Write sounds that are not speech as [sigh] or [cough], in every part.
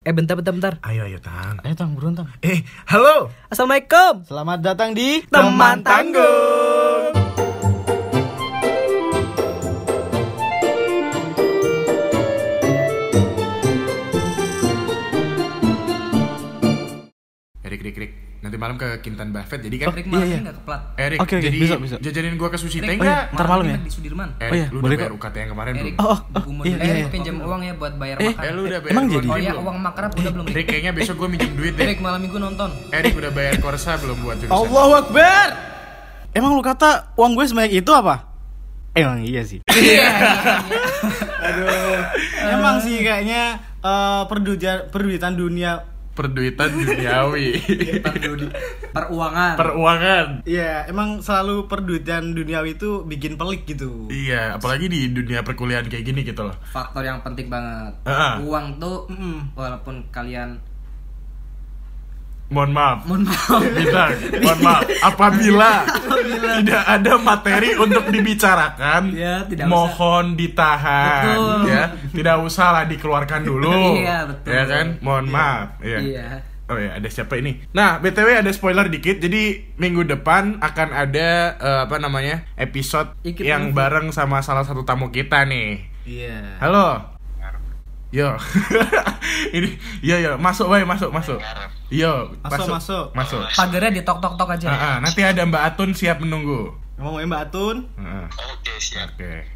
Eh bentar bentar bentar. Ayo ayo Tang. Ayo tang buruan tang. Eh, halo. Assalamualaikum. Selamat datang di Teman tanggung. Erik, Erik, Erik. Nanti malam ke Kintan Buffet jadi kan? Rick Iya, malam iya. ini nggak keplat. Erik, Oke, oke, jadi bisa, bisa. jajanin gua ke sushi teh Erik, enggak? ntar malam ini ya? kan Di Sudirman. Erik, Oh iya, lu boleh udah bayar kok. UKT yang kemarin Erik, Oh, oh, buku mau iya, dilihat, iya, iya. pinjam uang ya buat bayar Eh, makan. Eh, lu udah bayar Emang keluarga jadi? Oh belum? iya, uang makrab udah [laughs] belum. Erik, [laughs] kayaknya besok gua minjem duit deh. Erik malam minggu nonton. Erik udah bayar korsa belum buat jurusan? Allahu Akbar. Emang lu kata uang gue sebanyak itu apa? Emang [laughs] iya sih. Aduh. Emang sih kayaknya eh, perduja- perduitan dunia Perduitan [laughs] duniawi. Peruangan. Peruangan. Iya, emang selalu perduitan duniawi itu bikin pelik gitu. Iya, apalagi di dunia perkuliahan kayak gini gitu loh. Ah, Faktor yang penting banget. Heeh. Uang tuh Mm-mm. walaupun kalian Mohon maaf. mohon maaf. Bintang, mohon maaf. Apabila tidak ada materi untuk dibicarakan, Ya, tidak mohon ditahan. Betul. Ya, tidak usahlah dikeluarkan dulu. [laughs] Iya, betul. Ya kan? Mohon maaf. Iya. Iya. Oh ya, ada siapa ini? Nah, BTW ada spoiler dikit. Jadi minggu depan akan ada eh, apa namanya? episode Ikut yang review. bareng sama salah satu tamu kita nih. Iya. Halo. Yo. [laughs] ini yo yo, masuk woi, masuk, masuk. Yo, Masuk, masuk. Masuk. Pagernya di tok tok tok aja. Ah, ah, nanti ada Mbak Atun siap menunggu. Ngomongin Mbak Atun, Ah, ah, Oke siap. Oke.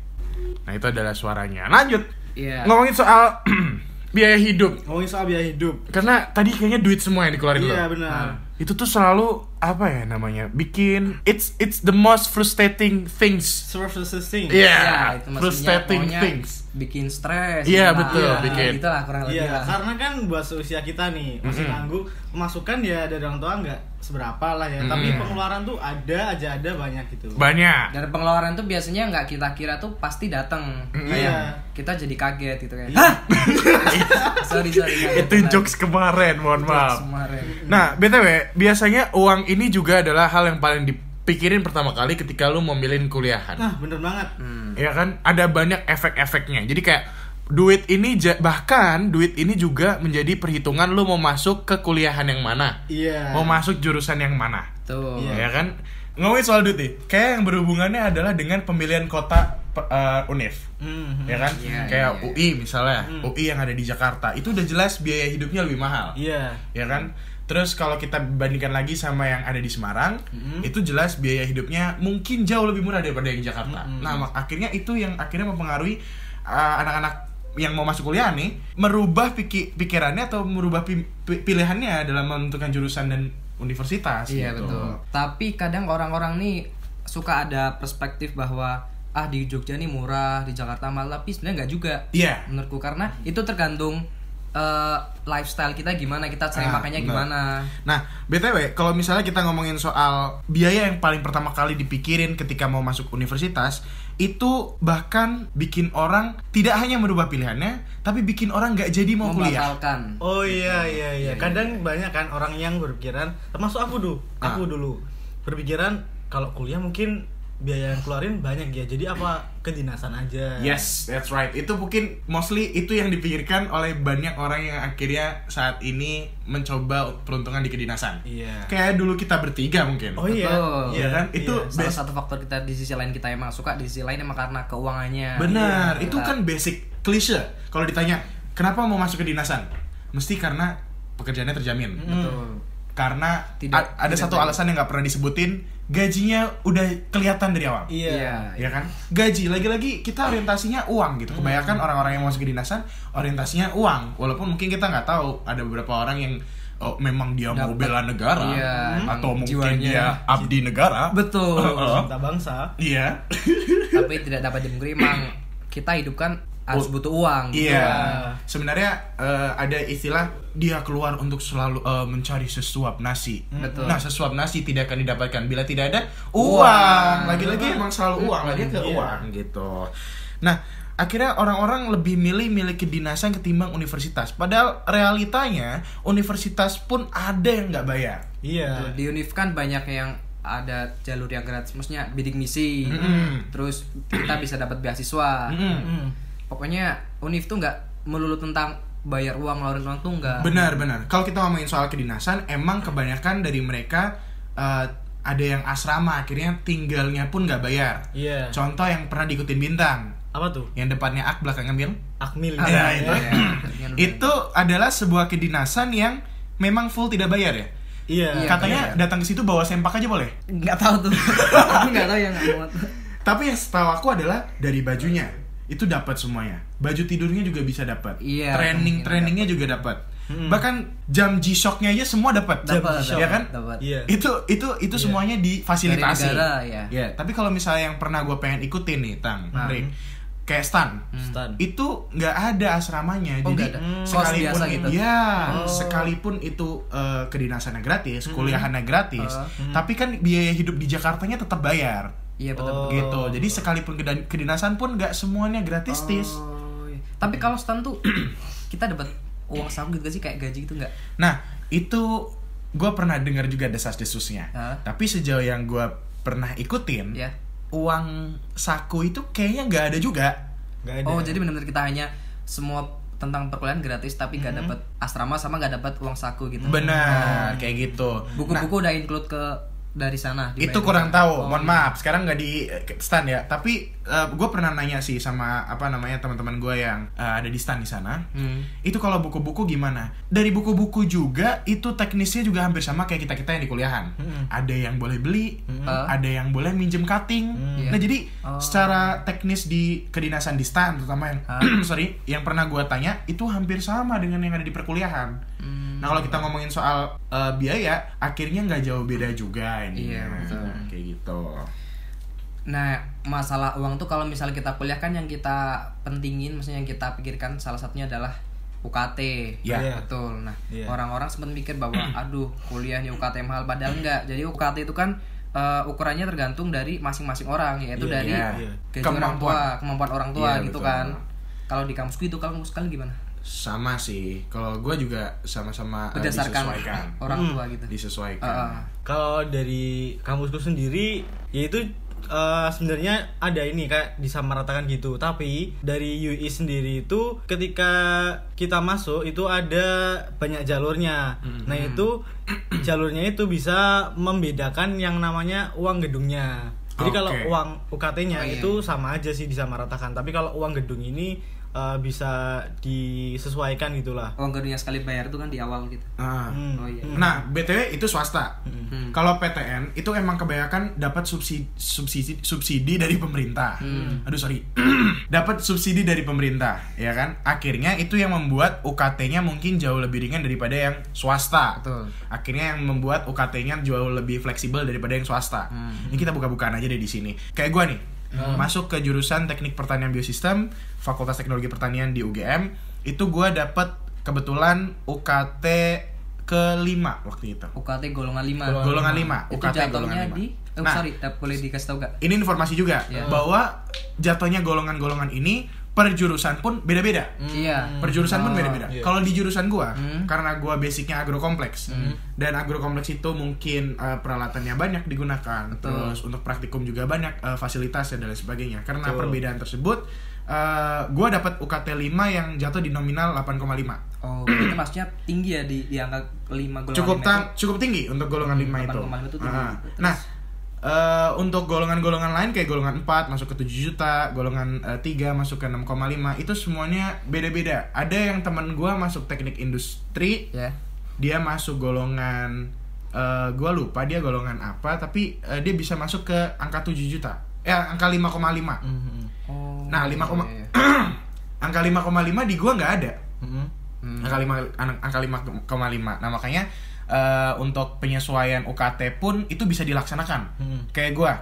Nah, itu adalah suaranya. Lanjut. Iya. Ngomongin soal [clears throat] biaya hidup. ngomongin soal biaya hidup. Karena tadi kayaknya duit semua yang dikeluarin lo. Iya, benar. Itu tuh selalu apa ya namanya? Bikin it's it's the most frustrating things. Surface thing. Iya, Iya, itu maksudnya frustrating pokoknya things. Bikin stres. Iya, gitu lah. betul, Iya, bikin. Gitu lah kurang lebih. Iya, lah. karena kan buat seusia kita nih masih Mm-mm. nganggur, pemasukan ya dari orang tua nggak seberapa lah ya, tapi Mm-mm. pengeluaran tuh ada aja ada banyak gitu. Banyak. Dan pengeluaran tuh biasanya nggak kita kira tuh pasti datang. Mm. Iya. Kita jadi kaget gitu kan. Iya. Hah? [laughs] sorry sorry. kaget. [laughs] Itu jokes kemarin, mohon maaf. Kemarin. Nah, BTW, biasanya uang ini juga adalah hal yang paling dipikirin pertama kali ketika lu memilih kuliahan. Nah, bener banget. ya kan ada banyak efek-efeknya jadi kayak duit ini ja- bahkan duit ini juga menjadi perhitungan lu mau masuk ke kuliahan yang mana Iya. mau masuk jurusan yang mana Tuh. Iya. ya kan ngomongin soal duit nih kayak yang berhubungannya adalah dengan pemilihan kota pe- eh, univ Mhm. ya kan Iya, kayak iya, iya. UI misalnya Hmm. UI yang ada di Jakarta itu udah jelas biaya hidupnya lebih mahal Iya. ya kan terus kalau kita bandingkan lagi sama yang ada di Semarang Mhm. itu jelas biaya hidupnya mungkin jauh lebih murah daripada yang di Jakarta Mhm. nah mak- akhirnya itu yang akhirnya mempengaruhi uh, anak-anak yang mau masuk kuliah nih merubah piki- pikirannya atau merubah pi- pi- pilihannya dalam menentukan jurusan dan universitas Iya gitu. betul. Tapi kadang orang-orang nih suka ada perspektif bahwa ah di Jogja nih murah, di Jakarta mahal, tapi sebenarnya nggak juga. Iya. Menurutku karena itu tergantung eh, lifestyle kita gimana, kita sering Ah, makannya benar. gimana. Nah, BTW, kalau misalnya kita ngomongin soal biaya yang paling pertama kali dipikirin ketika mau masuk universitas, itu bahkan bikin orang tidak hanya merubah pilihannya, tapi bikin orang nggak jadi mau kuliah. membatalkan. Oh Gitu. iya iya iya. Kadang banyak kan orang yang berpikiran, termasuk aku dulu, Ah. aku dulu berpikiran kalau kuliah mungkin biaya yang keluarin banyak ya. Jadi apa kedinasan aja. Yes, that's right. Itu mungkin mostly itu yang dipikirkan oleh banyak orang yang akhirnya saat ini mencoba peruntungan di kedinasan. Iya. Kayak dulu kita bertiga mungkin. Oh iya. Betul. Iya kan? Itu Iya. Salah best- satu faktor kita di sisi lain kita emang suka, di sisi lain emang karena keuangannya. Benar, Iya, itu kita- kan basic klise. Kalau ditanya, kenapa mau masuk kedinasan? Mesti karena pekerjaannya terjamin. Betul. Karena Tidak- a- ada tidak satu terjamin. alasan yang nggak pernah disebutin, gajinya udah kelihatan dari awal. Iya. Ya kan? Gaji lagi-lagi kita orientasinya uang gitu. Kebanyakan orang-orang yang masuk kedinasan orientasinya uang. Walaupun mungkin kita nggak tahu ada beberapa orang yang oh, memang dia mau Dapat. bela negara Iya, emang atau mungkin jiwanya. dia abdi negara. Betul. Heeh. Cinta bangsa. Iya. tapi tidak dapat dipungkiri emang kita hidup kan harus Oh, butuh uang gitu Iya. kan. Sebenarnya eh, ada istilah dia keluar untuk selalu eh, mencari sesuap nasi. Betul. Nah, sesuap nasi tidak akan didapatkan bila tidak ada Uang. uang. Lagi-lagi emang selalu uang, lagi ke Iya. uang gitu. Nah, akhirnya orang-orang lebih milih milih kedinasan ketimbang universitas. Padahal realitanya universitas pun ada yang nggak bayar. Iya. Betul. di univ kan banyak yang ada jalur yang gratis maksudnya bidik misi Mm-mm. terus kita bisa dapat beasiswa Mm-mm. Mm. pokoknya univ tuh nggak melulu tentang bayar uang ngeluarin uang tuh enggak Benar, benar. Kalau kita ngomongin soal kedinasan, emang kebanyakan dari mereka eh, ada yang asrama akhirnya tinggalnya pun nggak bayar. Iya. Contoh yang pernah diikutin bintang, Apa tuh? yang depannya ak belakangnya mil. Akmil. Ah, Iya, ya, itu. ya. Ingat dulu. Itu adalah sebuah kedinasan yang memang full tidak bayar ya. Iya. Iya. Katanya bayar. datang ke situ bawa sempak aja boleh. nggak tahu tuh aku nggak tahu yang muat Tapi yang setahu aku adalah dari bajunya itu dapat semuanya. Baju tidurnya juga bisa dapat. Iya, Training kemungkinan Hmm. trainingnya juga dapat. Mm-mm. Bahkan jam G-Shocknya aja semua dapat. Dapat, ya dapat, kan? dapat. Iya. Iya. Itu itu itu semuanya difasilitasi. Iya, Dari negara, ya. Tapi kalau misalnya yang pernah gue pengen ikutin nih, Tang, Hmm. Rick, kayak Stan. Stan. Itu nggak ada asramanya, Oh, jadi nggak ada. Hmm. sekalipun Kos biasa gitu. ya, Oh. Hmm. sekalipun itu eh, kedinasannya gratis, kuliahannya gratis, Oh. Hmm. tapi kan biaya hidup di Jakartanya tetap bayar iya betul Oh. betul gitu jadi sekalipun kedan- kedinasan pun nggak semuanya gratis tis Oh, iya. tapi kalau stand tuh [clears throat] kita dapat uang saku gitu gak sih kayak gaji gitu nggak nah itu gue pernah dengar juga desas desusnya Hah? tapi sejauh yang gue pernah ikutin ya uang saku itu kayaknya nggak ada juga Nggak ada. oh jadi benar-benar kita hanya semua tentang perkuliahan gratis tapi nggak dapat asrama sama nggak dapat uang saku gitu benar kayak gitu Nah, buku-buku udah include ke dari sana dibayar itu dari kurang sana. tahu Oh, mohon maaf sekarang nggak di eh, ke- stand ya tapi gue pernah nanya sih sama apa namanya teman-teman gue yang eh, ada di stand di sana hmm. itu kalau buku-buku gimana? Dari buku-buku juga itu teknisnya juga hampir sama kayak kita kita yang di kuliahan. Mm-mm. Hmm. Ada yang boleh beli, eh, Mm-mm. ada yang boleh minjem cutting. Mm. Nah Iya. jadi Oh. Ah. secara teknis di kedinasan di stan terutama yang [clears throat] sorry yang pernah gua tanya itu hampir sama dengan yang ada di perkuliahan. Hmm. Nah kalau kita ngomongin soal eh, biaya akhirnya nggak jauh beda juga ini. Nah, Iya, betul. Kayak gitu. Nah, masalah uang tuh kalau misalnya kita kuliah kan yang kita pentingin, maksudnya yang kita pikirkan salah satunya adalah UKT. Ya. Iya. betul. Nah, Iya. orang-orang sempat mikir bahwa [clears throat] aduh, kuliah di UKT mahal padahal enggak. Jadi UKT itu kan eh, ukurannya tergantung dari masing-masing orang, yaitu Iya, dari iya. gaji orang tua, Kemampuan. kemampuan orang tua Iya, gitu betul. kan. Kalau di kampus gitu, kalau kampus kalian gimana? Sama sih. Kalau gua juga sama-sama eh, Berdasarkan disesuaikan. Hmm. orang tua gitu. Disesuaikan. Heeh. Kalau dari kampusku sendiri, yaitu eh, sebenarnya ada ini kayak disamaratakan gitu. Tapi dari UI sendiri itu ketika kita masuk itu ada banyak jalurnya. Nah itu [clears throat] jalurnya itu bisa membedakan yang namanya uang gedungnya. Jadi kalau Oke. uang UKT-nya Oh, iya. itu sama aja sih disamaratakan. Tapi kalau uang gedung ini eh, bisa disesuaikan gitulah. Uang gedungnya sekali bayar itu kan di awal gitu. Ah. Hmm. Oh, iya. Hmm. Nah, BTW itu swasta. Hmm. Kalau PTN itu emang kebanyakan dapat subsidi subsidi subsidi dari pemerintah. Hmm. Aduh sorry, [clears throat] dapat subsidi dari pemerintah, ya kan? Akhirnya itu yang membuat UKT-nya mungkin jauh lebih ringan daripada yang swasta. Betul. Akhirnya yang membuat UKT-nya jauh lebih fleksibel daripada yang swasta. Hmm. Ini kita buka-bukaan aja deh di sini. Kayak gua nih, masuk ke jurusan Teknik Pertanian Biosistem, Fakultas Teknologi Pertanian di UGM, itu gua dapat kebetulan UKT kelima waktu itu. UKT golongan 5. Golongan lima, Itu UKT golongan jatuhnya lima. di Oh, Nah. sorry, dap- boleh dikasih tahu gak? Ini informasi juga Iya. bahwa jatuhnya golongan-golongan ini per jurusan pun beda-beda. Iya. Per jurusan pun Oh, beda-beda. iya. Kalau di jurusan gua, Hmm. karena gua basicnya agrokompleks, dan agrokompleks itu mungkin eh, peralatannya banyak digunakan, Betul. terus untuk praktikum juga banyak eh, fasilitas dan lain sebagainya. Karena Betul. perbedaan tersebut, eh, gua dapat UKT 5 yang jatuh di nominal 8,5. Oh, [clears throat] itu maksudnya tinggi ya di, di angka 5 golongan Cukup lima tang, cukup tinggi untuk golongan 5 itu. 8,5 itu tinggi. Ah. Terus? Nah, eh, untuk golongan-golongan lain kayak golongan 4 masuk ke 7 juta, golongan eh, 3 masuk ke 6,5 itu semuanya beda-beda. Ada yang teman gua masuk teknik industri, itu. Ya. dia masuk golongan eh gue lupa dia golongan apa tapi eh, dia bisa masuk ke angka 7 juta eh angka 5,5 Mhm. Oh. Nah, lima iya, koma- Hmm, iya. [clears throat] angka 5,5 di gua nggak ada Mhm. Hmm. angka 5 an- angka 5,5 nah makanya eh, untuk penyesuaian UKT pun itu bisa dilaksanakan Hmm. Mhm. kayak gua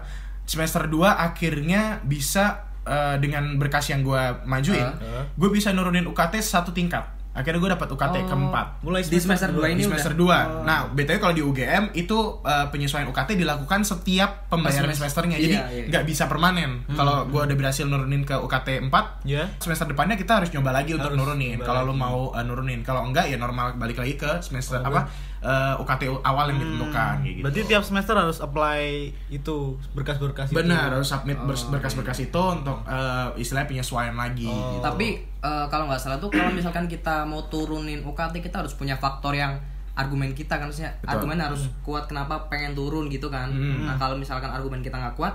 semester 2 akhirnya bisa eh, dengan berkas yang gua majuin Heeh. gue bisa nurunin UKT satu tingkat akhirnya gue dapat UKT Ah. Oh. keempat Mulai Di semester Di dua ini semester udah. Oh. 2. Nah, BTW kalau di UGM itu eh, penyesuaian UKT dilakukan setiap pembayaran Semester. semesternya. Iya, Jadi iya. Hmm. nggak bisa permanen. Kalau gua udah berhasil nurunin ke UKT Iya. 4, Ya. semester depannya kita harus nyoba lagi untuk Harus nurunin. nyoba Kalau lu lagi. mau eh, nurunin, kalau enggak ya normal balik lagi ke semester apa eh, UKT awal yang ditentukan kayak gitu. Berarti tiap semester harus apply itu berkas-berkas itu. benar harus submit bers- berkas-berkas itu untuk eh, istilahnya penyesuaian lagi Oh. gitu. Tapi eh, kalau nggak salah tuh kalau misalkan kita mau turunin UKT kita harus punya faktor yang argumen kita kan maksudnya argumen harus kuat kenapa pengen turun gitu kan. Hmm. Nah kalau misalkan argumen kita nggak kuat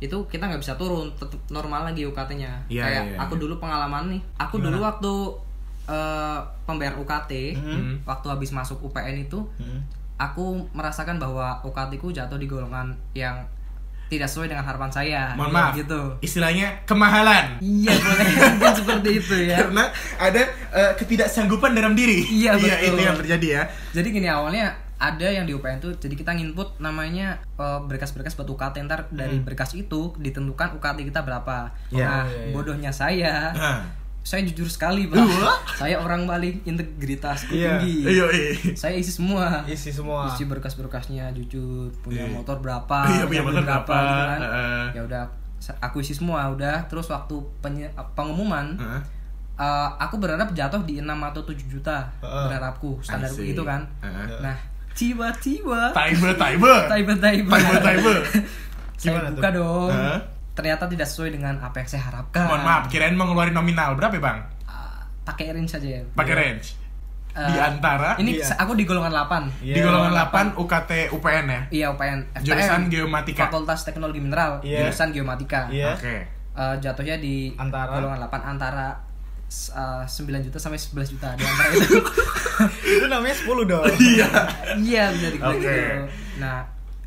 itu kita nggak bisa turun tetap normal lagi UKT-nya. Iya, Kayak iya, aku dulu pengalaman nih. Aku dulu waktu eh, pembayar UKT Hmm. waktu habis masuk UPN itu aku merasakan bahwa UKT ku jatuh di golongan yang tidak sesuai dengan harapan saya. Mohon Iya, maaf, gitu. istilahnya kemahalan. Iya boleh [laughs] mungkin seperti itu ya. Karena ada eh, ketidaksanggupan dalam diri. Iya, betul. itu yang terjadi ya. Jadi gini awalnya ada yang di UPN tuh jadi kita nginput namanya eh, berkas-berkas buat UKT ntar dari berkas itu ditentukan UKT kita berapa. Iya. Nah, iya, iya. bodohnya saya. Nah. Saya jujur sekali, Pak. saya orang paling integritasku Iya. tinggi. Iya, iya. Saya isi semua. Isi semua. isi berkas-berkasnya jujur punya Iya. motor berapa Iya, punya motor punya berapa berapa, gitu kan. heeh. ya udah sa- aku isi semua udah terus waktu penye- pengumuman Heeh. eh, aku berharap jatuh di 6 atau 7 juta Heeh. berharapku I standar see. gitu kan Heeh. nah tiba-tiba Timer, timer. tiba-tiba Timer, timer. saya Gimana tuh? buka dong Heeh. ternyata tidak sesuai dengan apa yang saya harapkan Mohon maaf, kirain mau ngeluarin nominal berapa ya, Bang? Eh, pakai range saja ya Pakai range. Eh, Di antara ini Iya. sa- aku di golongan 8 di golongan 8 UKT UPN ya. Iya UPN FTM Jurusan Geomatika. Fakultas Teknologi Mineral Iya. Jurusan Geomatika Iya. Oke. Eh, Jatuhnya di Antara? golongan 8 Antara s- eh, 9 juta sampai 11 juta Di antara itu itu namanya 10 dong. Iya. [laughs] Iya bisa dibilang Oke. gitu Nah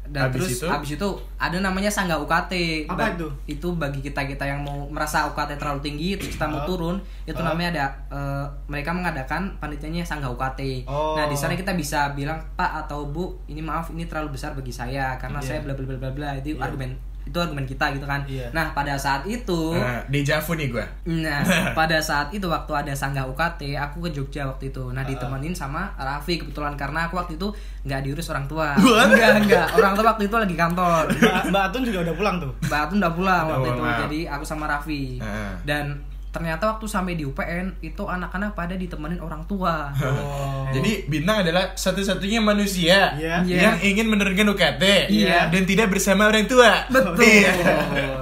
dan Habis terus itu? abis itu ada namanya sangga UKT. Apa Ba- itu? Itu bagi kita kita yang mau merasa UKT terlalu tinggi, terus Oh. kita mau turun, itu namanya ada eh, mereka mengadakan panitianya sangga UKT. Oh. Nah di sana kita bisa bilang Pak atau Bu, ini maaf ini terlalu besar bagi saya karena Iya. saya bla bla bla bla bla itu argumen itu argumen kita gitu kan. Iya. Nah pada saat itu Nah, deja vu nih gua. Nah, [laughs] pada saat itu waktu ada sanggah UKT, aku ke Jogja waktu itu. Nah, ditemenin sama Raffi kebetulan karena aku waktu itu nggak diurus orang [laughs] tua. Enggak, enggak. Orang tua waktu itu lagi kantor. Mbak, Mbak Atun juga udah pulang tuh. Mbak Atun udah pulang Udah waktu itu. pulang. Jadi aku sama Raffi. Heeh. Dan ternyata waktu sampai di UPN itu anak-anak pada ditemenin orang tua. [laughs] Oh. Jadi bintang adalah satu-satunya manusia Iya. Iya. yang ingin meneruskan UKT Iya. dan tidak bersama orang tua. Betul. Iya. [laughs] Gitu.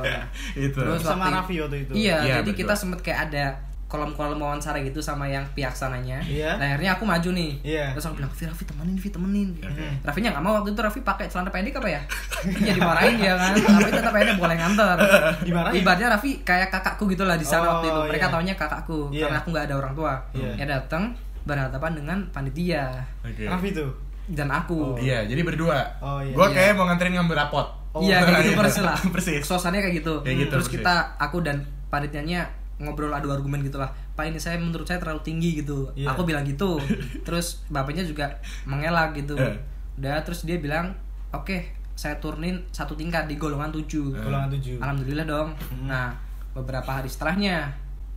Itu. Terus Sama waktu- Raffi waktu itu. Iya, Iya, jadi betul. kita sempet kayak ada kolom-kolom wawancara gitu sama yang pihak sananya. Iya. Nah, akhirnya aku maju nih. Iya. Terus aku bilang, "Vi, Raffi temenin, Vi temenin." Oke. Raffi nya nggak mau waktu itu Raffi pakai celana pendek apa ya? [laughs] Iya dimarahin dia kan. Tapi tetap aja boleh nganter. Dimarahin? Ibaratnya Raffi kayak kakakku gitu lah di sana Oh, waktu itu. Mereka iya. taunya kakakku Iya. karena aku nggak ada orang tua. Iya. Ya datang berhadapan dengan panitia Oke. Raffi tuh. dan aku. Iya, jadi berdua. Oh, iya. Gua Iya. kayak mau nganterin ngambil rapot. Iya kayak gitu Iya. persis lah. [laughs] Persis. Suasananya kayak gitu. Kayak gitu, Terus persis. kita aku dan panitianya ngobrol adu argumen gitu lah. Pak ini saya menurut saya terlalu tinggi gitu. Iya. Aku [laughs] bilang gitu. terus bapaknya juga mengelak gitu. Eh. Udah terus dia bilang, "Oke, saya turunin satu tingkat di golongan 7." Eh. Golongan 7. Iya. Alhamdulillah dong. Hmm. Nah, beberapa hari setelahnya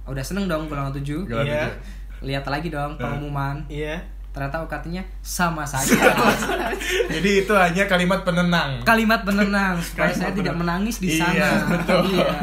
udah seneng dong golongan 7. Golongan Iya. tujuh. Lihat Eh. lagi dong pengumuman. Iya. Ternyata UKT-nya sama [laughs] saja. Jadi itu hanya kalimat penenang. Kalimat penenang supaya Kalimat saya tidak penenang. menangis di sana. Iya, betul. Iya.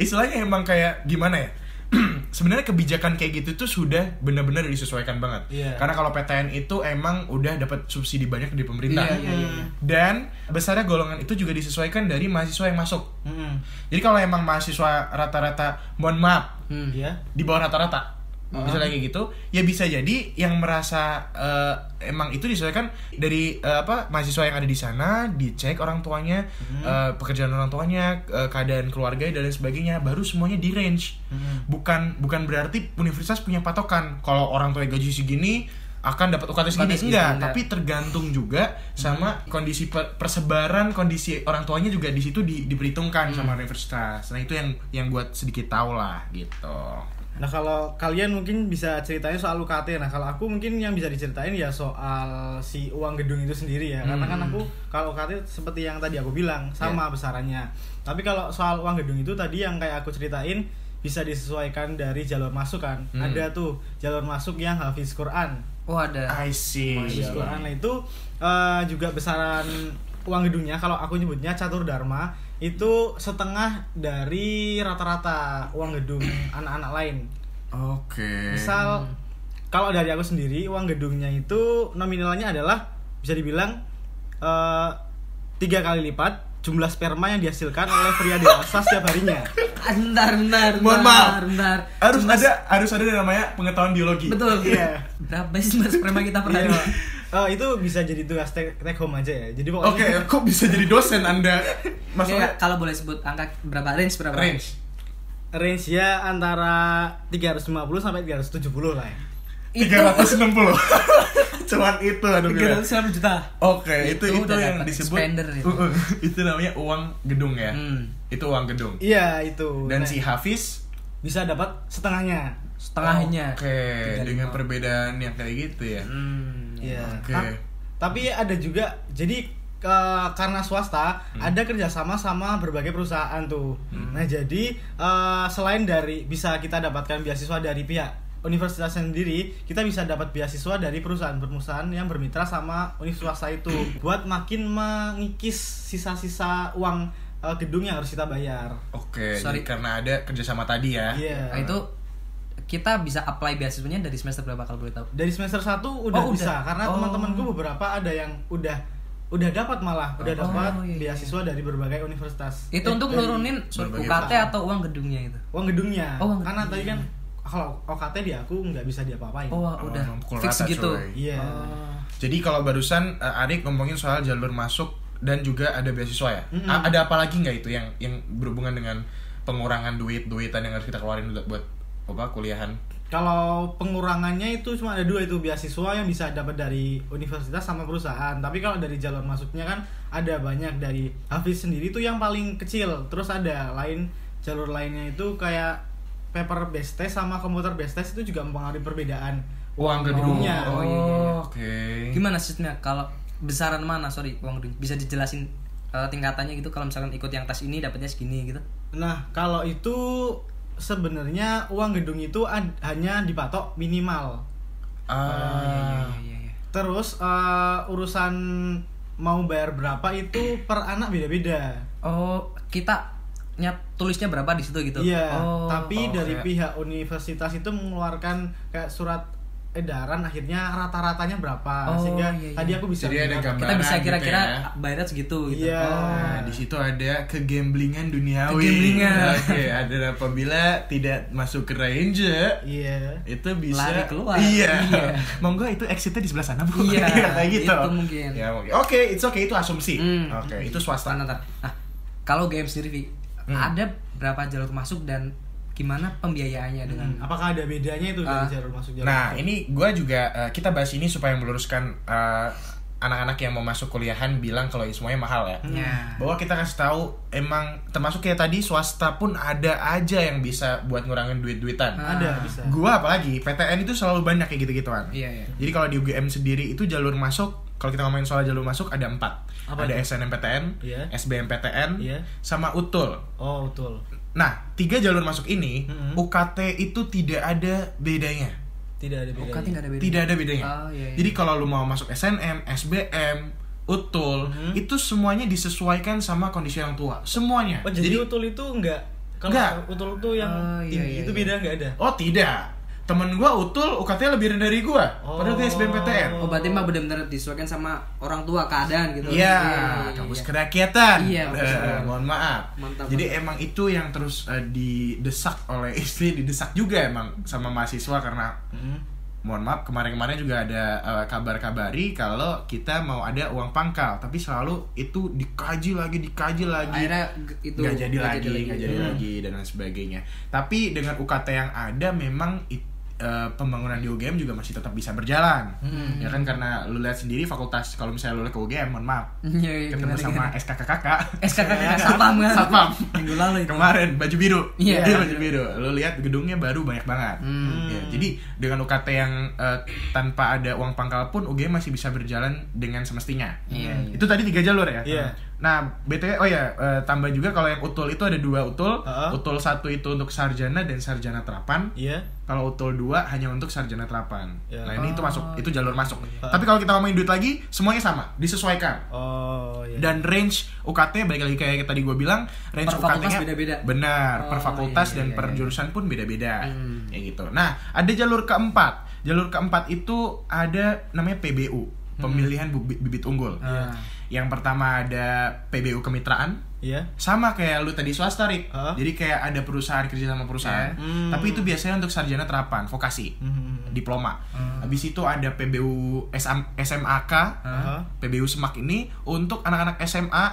Istilahnya emang kayak gimana ya? [clears throat] Sebenarnya kebijakan kayak gitu tuh sudah benar-benar disesuaikan banget. Iya. Karena kalau PTN itu emang udah dapat subsidi banyak di pemerintah. Iya, iya, iya, iya. Dan besarnya golongan itu juga disesuaikan dari mahasiswa yang masuk. Mm-mm. Jadi kalau emang mahasiswa rata-rata, mohon maaf, Hmm. Iya. di bawah rata-rata misalnya kayak gitu ya bisa jadi yang merasa eh, emang itu disesuaikan dari eh, apa mahasiswa yang ada di sana dicek orang tuanya eh, pekerjaan orang tuanya eh, keadaan keluarga dan lain sebagainya baru semuanya di range Mm-mm. bukan bukan berarti universitas punya patokan kalau orang tua gaji segini akan dapat UKT segini segini, enggak, Mhm. enggak. tapi tergantung juga sama kondisi per- persebaran kondisi orang tuanya juga di situ di- diperhitungkan sama universitas. Nah, itu yang yang buat sedikit tahu lah gitu. Nah kalau kalian mungkin bisa ceritain soal UKT Nah kalau aku mungkin yang bisa diceritain ya soal si uang gedung itu sendiri ya Karena kan aku kalau UKT seperti yang tadi aku bilang sama besarannya Tapi kalau soal uang gedung itu tadi yang kayak aku ceritain Bisa disesuaikan dari jalur masuk kan Hmm. Ada tuh jalur masuk yang Hafiz Quran Oh ada. I see. Hafiz Quran nah, itu eh, juga besaran uang gedungnya kalau aku nyebutnya catur dharma itu setengah dari rata-rata uang gedung anak-anak lain Oke. Misal Hmm. kalau dari aku sendiri uang gedungnya itu nominalnya adalah bisa dibilang eh, tiga kali lipat jumlah sperma yang dihasilkan oleh pria dewasa setiap harinya. Ah, Bentar, bentar, Mohon bentar, maaf. bentar. harus ada harus ada yang namanya pengetahuan biologi Betul. Iya. Berapa sih mas sperma kita per hari? Iya. Eh, itu bisa jadi tugas take, take home aja ya. Jadi pokoknya oke kok bisa jadi dosen anda Maksudnya maksudnya kalau boleh sebut angka berapa range berapa? range range ya antara 350 sampai 370 lah ya. Itu 360 [laughs] cuman itu aduh gila. 360 juta. Oke, itu Itu itu, udah yang dapat disebut expander itu. Uh, uh, itu namanya uang gedung ya. Hmm. Itu uang gedung. Iya, itu. Dan Nah, si Hafiz bisa dapat setengahnya. Setengahnya. Oke, dengan 35. perbedaan yang kayak gitu ya. Hmm. Iya. Oke. Ta- Tapi ada juga jadi eh, karena swasta ada kerjasama sama berbagai perusahaan tuh. Nah jadi eh, selain dari bisa kita dapatkan beasiswa dari pihak universitas sendiri, kita bisa dapat beasiswa dari perusahaan-perusahaan yang bermitra sama universitas swasta itu buat makin mengikis sisa-sisa uang eh, gedung yang harus kita bayar. Oke, jadi Sorry. karena ada kerjasama tadi ya. Iya. Nah, itu kita bisa apply beasiswanya dari semester berapa kalau boleh tahu? dari semester 1 udah Oh, udah. bisa karena Oh. teman-teman gue beberapa ada yang udah udah dapat malah udah Oh, dapat iya, iya. beasiswa dari berbagai universitas Itu Eh, untuk dari nurunin berbagai UKT perusahaan. atau uang gedungnya itu? uang gedungnya Oh, uang karena gedungnya. tadi kan kalau OKT di aku nggak bisa diapa-apain Oh, Oh, udah emang pukul fix rata, gitu. coy. iya Oh. Jadi kalau barusan eh, Arik ngomongin soal jalur masuk dan juga ada beasiswa ya. Mm-mm. A- ada apa lagi nggak itu yang yang berhubungan dengan pengurangan duit-duitan yang harus kita keluarin buat buat apa kuliahan? kalau pengurangannya itu cuma ada dua itu beasiswa yang bisa dapat dari universitas sama perusahaan tapi kalau dari jalur masuknya kan ada banyak dari Hafiz sendiri itu yang paling kecil terus ada lain jalur lainnya itu kayak paper based test sama komputer based test itu juga mempengaruhi perbedaan Uang gedungnya. gedungnya. Oh, iya, iya. Oke. Gimana sistemnya kalau besaran mana sorry uang gedung bisa dijelasin eh, tingkatannya gitu kalau misalkan ikut yang tes ini dapatnya segini gitu. Nah, kalau itu sebenarnya uang gedung itu ad- hanya dipatok minimal. Ah. iya, iya. Terus eh, urusan mau bayar berapa itu per anak beda-beda. Oh, kita nyat tulisnya berapa di situ gitu. Iya, Oh, tapi oh, dari kayak- pihak universitas itu mengeluarkan kayak surat edaran akhirnya rata-ratanya berapa Oh, sehingga iya, iya. tadi aku bisa Jadi ada melihat- gambaran kita bisa gitu kira-kira ya. bayarnya segitu gitu. Iya. Nah, di situ ada kegamblingan duniawi. [laughs] Kegamblingan. Oke, ada apabila tidak masuk ke range Iya. itu bisa Lari keluar. Iya. Iya. [laughs] Monggo itu exitnya di sebelah sana, Bu. Iya, [laughs] kayak gitu. itu mungkin. Ya, mungkin. Oke, it's okay itu asumsi. Hmm. Oke, itu swasta. Tanah, tanah. Nah, kalau game sendiri Vi, Hmm. ada berapa jalur masuk dan gimana pembiayaannya dengan Hmm, Apakah ada bedanya itu dari Ah. jalur masuk jalur? Nah, masuk? ini gue juga eh, kita bahas ini supaya meluruskan eh, anak-anak yang mau masuk kuliahan bilang kalau ini semuanya mahal ya. Ya. bahwa kita kasih tahu emang termasuk kayak tadi swasta pun ada aja yang bisa buat ngurangin duit-duitan. ada Ah. bisa. Gua apalagi PTN itu selalu banyak kayak gitu-gituan. Iya, iya. Jadi kalau di UGM sendiri itu jalur masuk kalau kita ngomongin soal jalur masuk ada empat. Apa ada itu? SNMPTN, Iya. SBMPTN, Iya. sama UTUL. Oh, betul. Nah, tiga jalur masuk ini Mm-mm. UKT itu tidak ada bedanya. Tidak Oh, ada bedanya. UKT nggak ada bedanya? Tidak ada bedanya. Oh, iya, iya. Jadi kalau lu mau masuk SNM, SBM, UTUL, Mhm. itu semuanya disesuaikan sama kondisi orang tua. Semuanya. Oh jadi, utul itu enggak kalau Enggak. utul tuh yang Oh, iya, tinggi iya, itu iya. beda enggak ada. Oh tidak. Temen gua utul UKT lebih rendah dari gua. Padahal dia Oh. SBMPTN. Oh, berarti mah benar-benar disesuaikan sama orang tua keadaan gitu. Iya, iya, kampus iya. kerakyatan. Iya, Eh, kampus kerakyatan. mohon maaf. Mantap, Jadi emang itu yang terus eh, didesak oleh [laughs] istri, didesak juga emang sama mahasiswa karena Hmm. mohon maaf kemarin-kemarin juga ada eh, kabar-kabari kalau kita mau ada uang pangkal, tapi selalu itu dikaji lagi, dikaji lagi. Akhirnya g- itu nggak jadi nggak lagi nggak jadi Hmm. lagi dan lain sebagainya tapi dengan UKT yang ada memang it- eh, pembangunan di UGM juga masih tetap bisa berjalan Hmm. ya kan karena lu lihat sendiri fakultas kalau misalnya lu lihat ke UGM mohon maaf Iya, iya, ketemu gimana, sama gimana? Eh, SKKKK [laughs] SKK Satpam kan? Satpam. Minggu lalu itu. kemarin baju biru Iya, Dia iya. baju biru lu lihat gedungnya baru banyak banget Hmm. Ya, jadi dengan UKT yang eh, tanpa ada uang pangkal pun UGM masih bisa berjalan dengan semestinya Hmm. Iya. iya. itu tadi tiga jalur ya. Iya. Nah, BTW oh ya, eh, tambah juga kalau yang utul itu ada dua utul. Heeh. Utul satu itu untuk sarjana dan sarjana terapan. Iya. Kalau utul dua hanya untuk sarjana terapan. Ya. Nah, ini itu masuk, Oh. itu jalur masuk. Heeh. Tapi kalau kita ngomongin duit lagi, semuanya sama, disesuaikan. Oh iya. Dan range UKT balik lagi kayak tadi gue bilang, range Per fakultas UKT-nya beda-beda. Benar, per Oh, fakultas iya, dan iya, per iya. jurusan pun beda-beda. Hmm. Kayak gitu. Nah, ada jalur keempat. Jalur keempat itu ada namanya PBU, pemilihan bibit, bibit unggul. Hmm. Ah. Yang pertama ada PBU kemitraan, Iya. sama kayak lu tadi swasta Rik. Heeh. jadi kayak ada perusahaan kerja sama Iya. perusahaan Hmm. tapi itu biasanya untuk sarjana terapan vokasi Mhm. diploma habis itu ada PBU SM, SMAK Heeh. PBU Semak ini untuk anak-anak SMA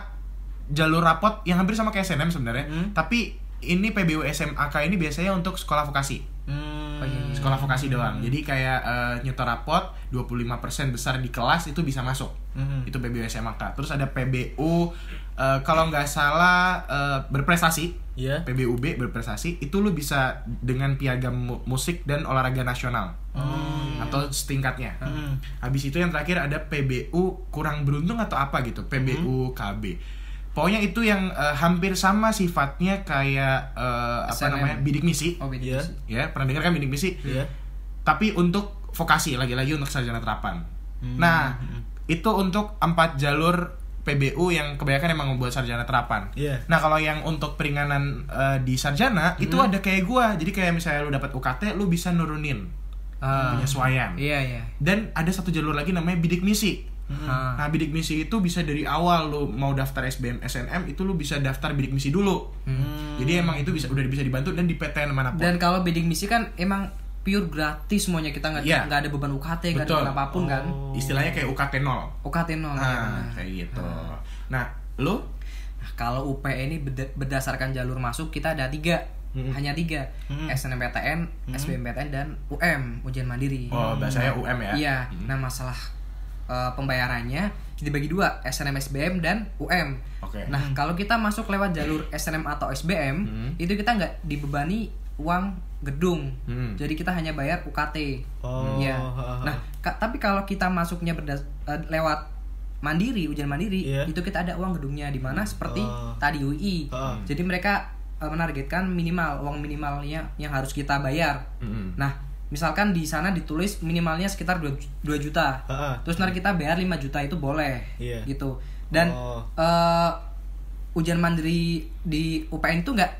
jalur rapot yang hampir sama kayak SNM sebenarnya Hmm. tapi ini PBU SMAK ini biasanya untuk sekolah vokasi Oh, Hmm. iya, sekolah vokasi doang jadi kayak eh, nyetor rapot 25% besar di kelas itu bisa masuk Mhm. itu PBU SMAK terus ada PBU eh, kalau nggak salah eh, berprestasi Iya. PBUB berprestasi itu lu bisa dengan piagam mu- musik dan olahraga nasional Oh. atau setingkatnya. Hmm. Habis itu yang terakhir ada PBU kurang beruntung atau apa gitu, PBU KB. Pokoknya itu yang eh, hampir sama sifatnya kayak eh, apa SNM. namanya bidik misi, oh beda Iya. sih. ya pernah dengar kan bidik misi? Iya. Tapi untuk vokasi lagi-lagi untuk sarjana terapan. Nah itu untuk empat jalur PBU yang kebanyakan emang membuat sarjana terapan. Iya. Nah kalau yang untuk peringanan eh, di sarjana itu ada kayak gua, jadi kayak misalnya lu dapat UKT, lu bisa nurunin eh, Ah. penyesuaian. iya iya Dan ada satu jalur lagi namanya bidik misi. Ah. Nah bidik misi itu bisa dari awal lu mau daftar SBM SNM itu lu bisa daftar bidik misi dulu. Hmm. Jadi emang itu bisa udah bisa dibantu dan di PTN manapun. Dan kalau bidding misi kan emang pure gratis semuanya kita nggak Iya. nggak ada beban UKT nggak ada Betul. beban apapun kan. Istilahnya kayak UKT nol. UKT nol. ya, Nah benar. Ah. kayak gitu. Nah lu Nah, kalau UP ini beda- berdasarkan jalur masuk kita ada tiga, Hmm. hanya tiga, SNMPTN, SBMPTN dan UM ujian mandiri. oh bahasanya UM ya? Iya. Nah masalah eh, pembayarannya dibagi dua, SNM SBM dan UM. Oke. Nah kalau kita masuk lewat jalur SNM atau SBM Hmm. itu kita nggak dibebani uang gedung, Hmm. jadi kita hanya bayar UKT. Oh. Iya. hahaha. Nah ka- tapi kalau kita masuknya berdas- eh, lewat mandiri ujian mandiri Iya. itu kita ada uang gedungnya di mana seperti Oh. tadi UI. Oh. Jadi mereka eh, menargetkan minimal uang minimalnya yang harus kita bayar. Mm-mm. Nah, misalkan di sana ditulis minimalnya sekitar 2, juta. Heeh. Terus nanti kita bayar 5 juta itu boleh. Iya. Gitu. Dan Oh. eh, ujian mandiri di UPN itu nggak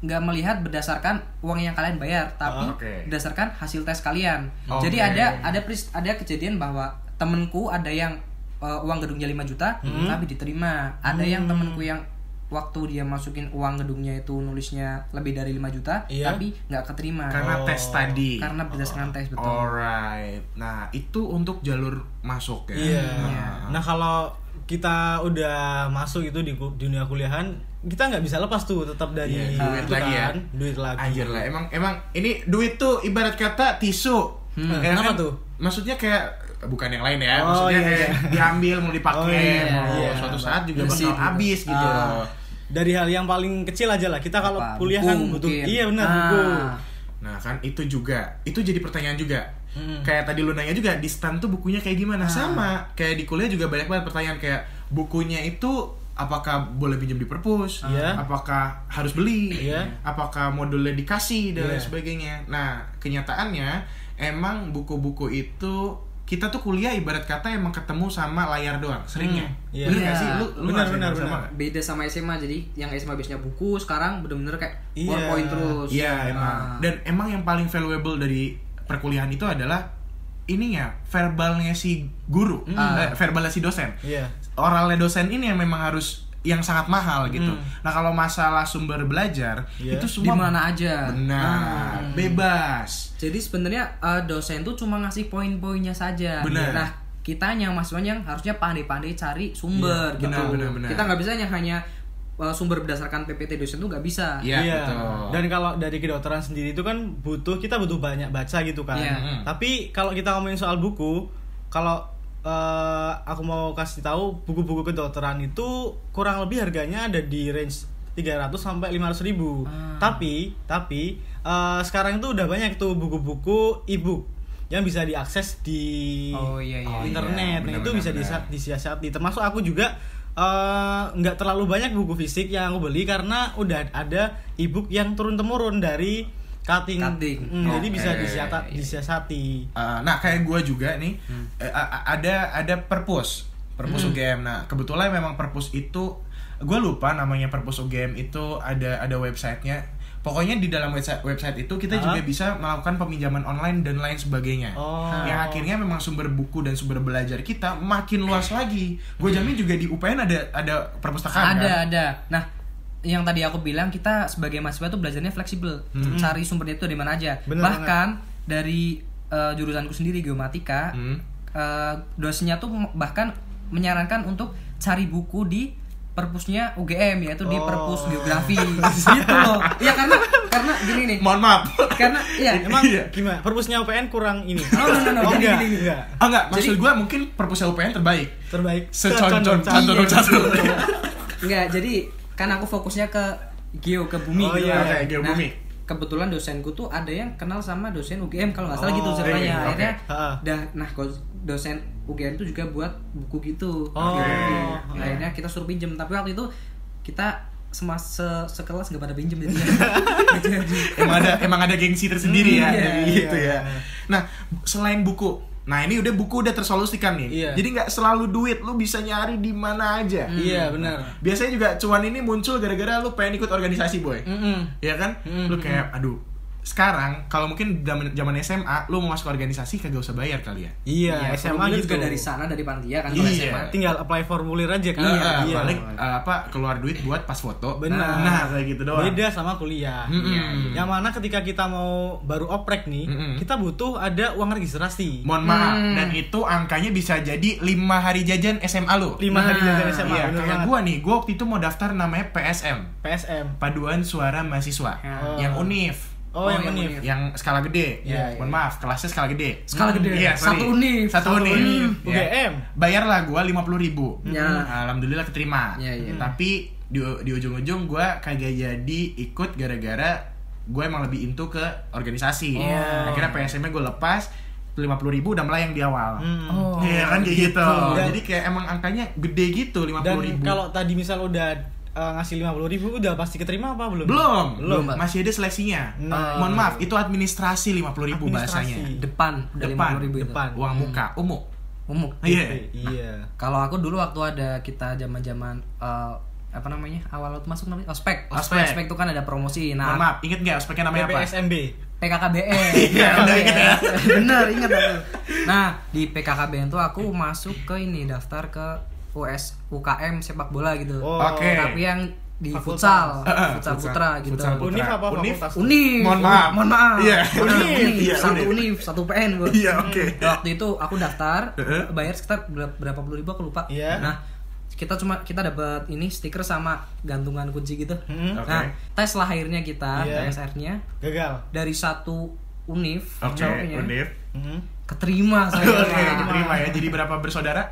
nggak melihat berdasarkan uang yang kalian bayar, Oh, tapi oke. berdasarkan hasil tes kalian. Oke. Jadi ada ada pris- ada kejadian bahwa temenku ada yang eh, uang gedungnya 5 juta Hmm. tapi diterima. Ada yang Hmm. temenku yang waktu dia masukin uang gedungnya itu nulisnya lebih dari 5 juta Iya. tapi nggak keterima Karena Oh. Oh. tes tadi. karena berdasarkan tes Nah. betul. Alright. Nah, itu untuk jalur masuk ya. Iya. Nah, Nah kalau kita udah masuk itu di ku- dunia kuliahan, kita nggak bisa lepas tuh tetap dari Iya, itu duit lagi ya. kan, duit lagi. Anjir lah, emang emang ini duit tuh ibarat kata tisu. Ya Hmm. kan? kenapa tuh? Maksudnya kayak bukan yang lain ya, Oh, maksudnya iya, kayak diambil mau dipakai, Oh, iya, mau iya. suatu saat juga bakal Bersih gitu. habis gitu. Ah, dari hal yang paling kecil aja lah kita kalau Apa, kuliah buku kan butuh mungkin. iya benar Ah. buku Nah, kan itu juga. Itu jadi pertanyaan juga. Hmm. Kayak tadi lu nanya juga di stand tuh bukunya kayak gimana? Ah. Sama. Kayak di kuliah juga banyak banget pertanyaan kayak bukunya itu apakah boleh pinjam di perpus? Iya. Apakah harus beli? Iya. Apakah modulnya dikasih dan lain Iya. sebagainya? Nah, kenyataannya emang buku-buku itu kita tuh kuliah ibarat kata emang ketemu sama layar doang seringnya. Hmm, iya. Bener nggak Iya. sih? Lu, lu Benar, ngerasain benar, hal sama benar. nggak? Beda sama SMA jadi yang SMA biasanya buku sekarang bener-bener kayak Iya. PowerPoint terus. Iya emang. Nah, Dan emang yang paling valuable dari perkuliahan itu adalah ininya verbalnya si guru, eh, verbalnya si dosen. iya Oralnya dosen ini yang memang harus yang sangat mahal gitu. Nah kalau masalah sumber belajar Iya. itu di semua mana Ah. aja. Nah, benar, bebas. Jadi sebenarnya eh, dosen tuh cuma ngasih poin-poinnya saja. Benar. Nah, kita yang mahasiswanya yang harusnya pandai-pandai cari Iya, sumber gitu. benar, benar, benar. Kita nggak bisa hanya- hanya eh, sumber berdasarkan PPT dosen tuh nggak bisa. Iya betul. dan kalau dari kedokteran sendiri itu kan butuh kita butuh banyak baca gitu kan Iya. Mm. tapi kalau kita ngomongin soal buku kalau eh, aku mau kasih tahu buku-buku kedokteran itu kurang lebih harganya ada di range 300 sampai 500 ribu Ah. tapi tapi eh, sekarang itu udah banyak tuh buku-buku e-book yang bisa diakses di Oh, iya, iya. iya, internet Benar, Nah, itu benar, bisa benar. disa- disiasati termasuk aku juga eh, nggak terlalu banyak buku fisik yang aku beli karena udah ada e-book yang turun temurun dari cutting, Cutting. Iya, Mm, jadi Oke. bisa disiata- disiasati Uh, nah kayak gue juga nih Hmm. eh, a- a- ada ada perpus perpus UGM nah kebetulan memang perpus itu gue lupa namanya perpus UGM itu ada ada websitenya Pokoknya di dalam website website itu kita Ah. juga bisa melakukan peminjaman online dan lain sebagainya. Oh. Yang akhirnya memang sumber buku dan sumber belajar kita makin Eh. luas lagi. Gue jamin juga di UPN ada ada perpustakaan Hmm. ada kan? ada nah yang tadi aku bilang kita sebagai mahasiswa tuh belajarnya fleksibel Hmm. cari sumbernya itu dari mana aja Bener bahkan dari eh, jurusanku sendiri geomatika Hmm. eh, dosennya tuh bahkan menyarankan untuk cari buku di perpusnya UGM yaitu di Oh. perpus geografi [laughs] gitu loh iya karena karena gini nih Eh, Mohon maaf. [laughs] karena iya Emang Iya. gimana? Perpusnya UPN kurang ini. [laughs] No, no, no, no. Oh, Gini, enggak. gini, gini. enggak. Ah enggak, maksud Jadi- gue mungkin perpustakaan UPN terbaik. Terbaik. Seconcon cantun Iya, cantun. [laughs] Enggak, jadi kan aku fokusnya ke geo ke bumi Oh, gitu iya, kan. oke, geo bumi. Kebetulan dosenku tuh ada yang kenal sama dosen UGM kalau nggak salah Oh, gitu iya, ceritanya. iya, oke. Akhirnya Ha. dah nah kalau dosen UGM tuh juga buat buku gitu. Oh, Geografi. iya. Akhirnya kita suruh pinjem, tapi waktu itu kita sama se- sekelas nggak pada pinjem [laughs] jadinya. Gitu, jadi. emang ada emang ada gengsi tersendiri ya Iya, dari iya. gitu ya. Nah, selain buku, nah ini udah buku udah tersolusikan nih. Iya. Jadi nggak selalu duit, lu bisa nyari di mana aja. Nah, Iya, benar. Biasanya juga cuan ini muncul gara-gara lu pengen ikut organisasi boy, Mm-mm. ya kan? Hmm, Lu kayak aduh sekarang kalau mungkin zaman zaman SMA lu mau masuk organisasi kagak usah bayar kali ya. Iya, Iya, SMA kebetulan gitu. juga dari sana dari Panitia kan kalau Iya. SMA. Tinggal apply formulir aja kan. Eh, Iya, balik, eh, apa keluar duit buat pas foto. Benar. Nah, kayak gitu doang. Beda sama kuliah. Mm-mm. Iya. Yang mana ketika kita mau baru oprek nih, Mm-mm. kita butuh ada uang registrasi. Mohon maaf, Hmm. dan itu angkanya bisa jadi 5 hari jajan SMA lu. 5 hari Nah, jajan SMA. Iya, bener kayak banget. gua nih, gua waktu itu mau daftar namanya PSM, PSM. Paduan Suara Mahasiswa, Oh. yang unif, Oh, Oh, yang yang univ. univ. yang skala gede. Iya, Mohon iya. maaf, kelasnya skala gede. Skala gede. Iya, sorry. Satu unif. Satu, Satu unif. unif. Iya. E. UGM. Bayarlah gua 50.000 ribu. Ya. Alhamdulillah keterima. Iya, iya. Tapi di, di ujung-ujung gua kagak jadi ikut gara-gara gue emang lebih into ke organisasi. Iya. Akhirnya PSM-nya gue lepas 50.000 ribu udah melayang di awal. Mm. Oh. Iya kan kayak gitu. Dan- Jadi kayak emang angkanya gede gitu 50.000 Dan ribu. kalau tadi misal udah eh, ngasih 50 ribu udah pasti keterima apa belum? belum, Belum, Pak. masih ada seleksinya. Eh, Nah. Mohon maaf, itu administrasi 50.000 ribu Administrasi. bahasanya. depan udah Depan, 50.000 itu. depan. Uang muka, umum. Umuk. Iya. Iya. Kalau aku dulu waktu ada kita zaman-zaman eh, apa namanya awal waktu masuk namanya ospek. Ospek. Ospek, ospek itu kan ada promosi. Mohon Nah, maaf, inget nggak ospeknya namanya apa? PPSMB. PKKBN. [laughs] Iya, udah inget ya. Bener, inget aku. Nah, di PKKBN tuh aku masuk ke ini daftar ke US UKM sepak bola gitu. Oh. Oke. Tapi yang di [laughs] Fakultas. futsal, Eh, eh, futsal putra gitu. futsal putra. Univ apa Unif? fakultas? Unif. Mohon maaf. Mohon maaf. Iya. Bener, Unif. Unif. [laughs] Iya, Satu Unif. Unif, satu PN [laughs] gua. Iya, Uh-huh. oke. Nah, waktu itu aku [laughs] daftar Heeh. bayar sekitar ber- berapa puluh ribu aku lupa Iya. nah kita cuma kita dapat ini stiker sama gantungan kunci gitu Hmm. Oke. nah tes lah akhirnya kita Iya. TSR-nya Gagal. dari satu univ Oke, jawabnya, Unif. Hmm. [laughs] keterima saya Nah, eh, Oke, diterima ya. Jadi berapa bersaudara?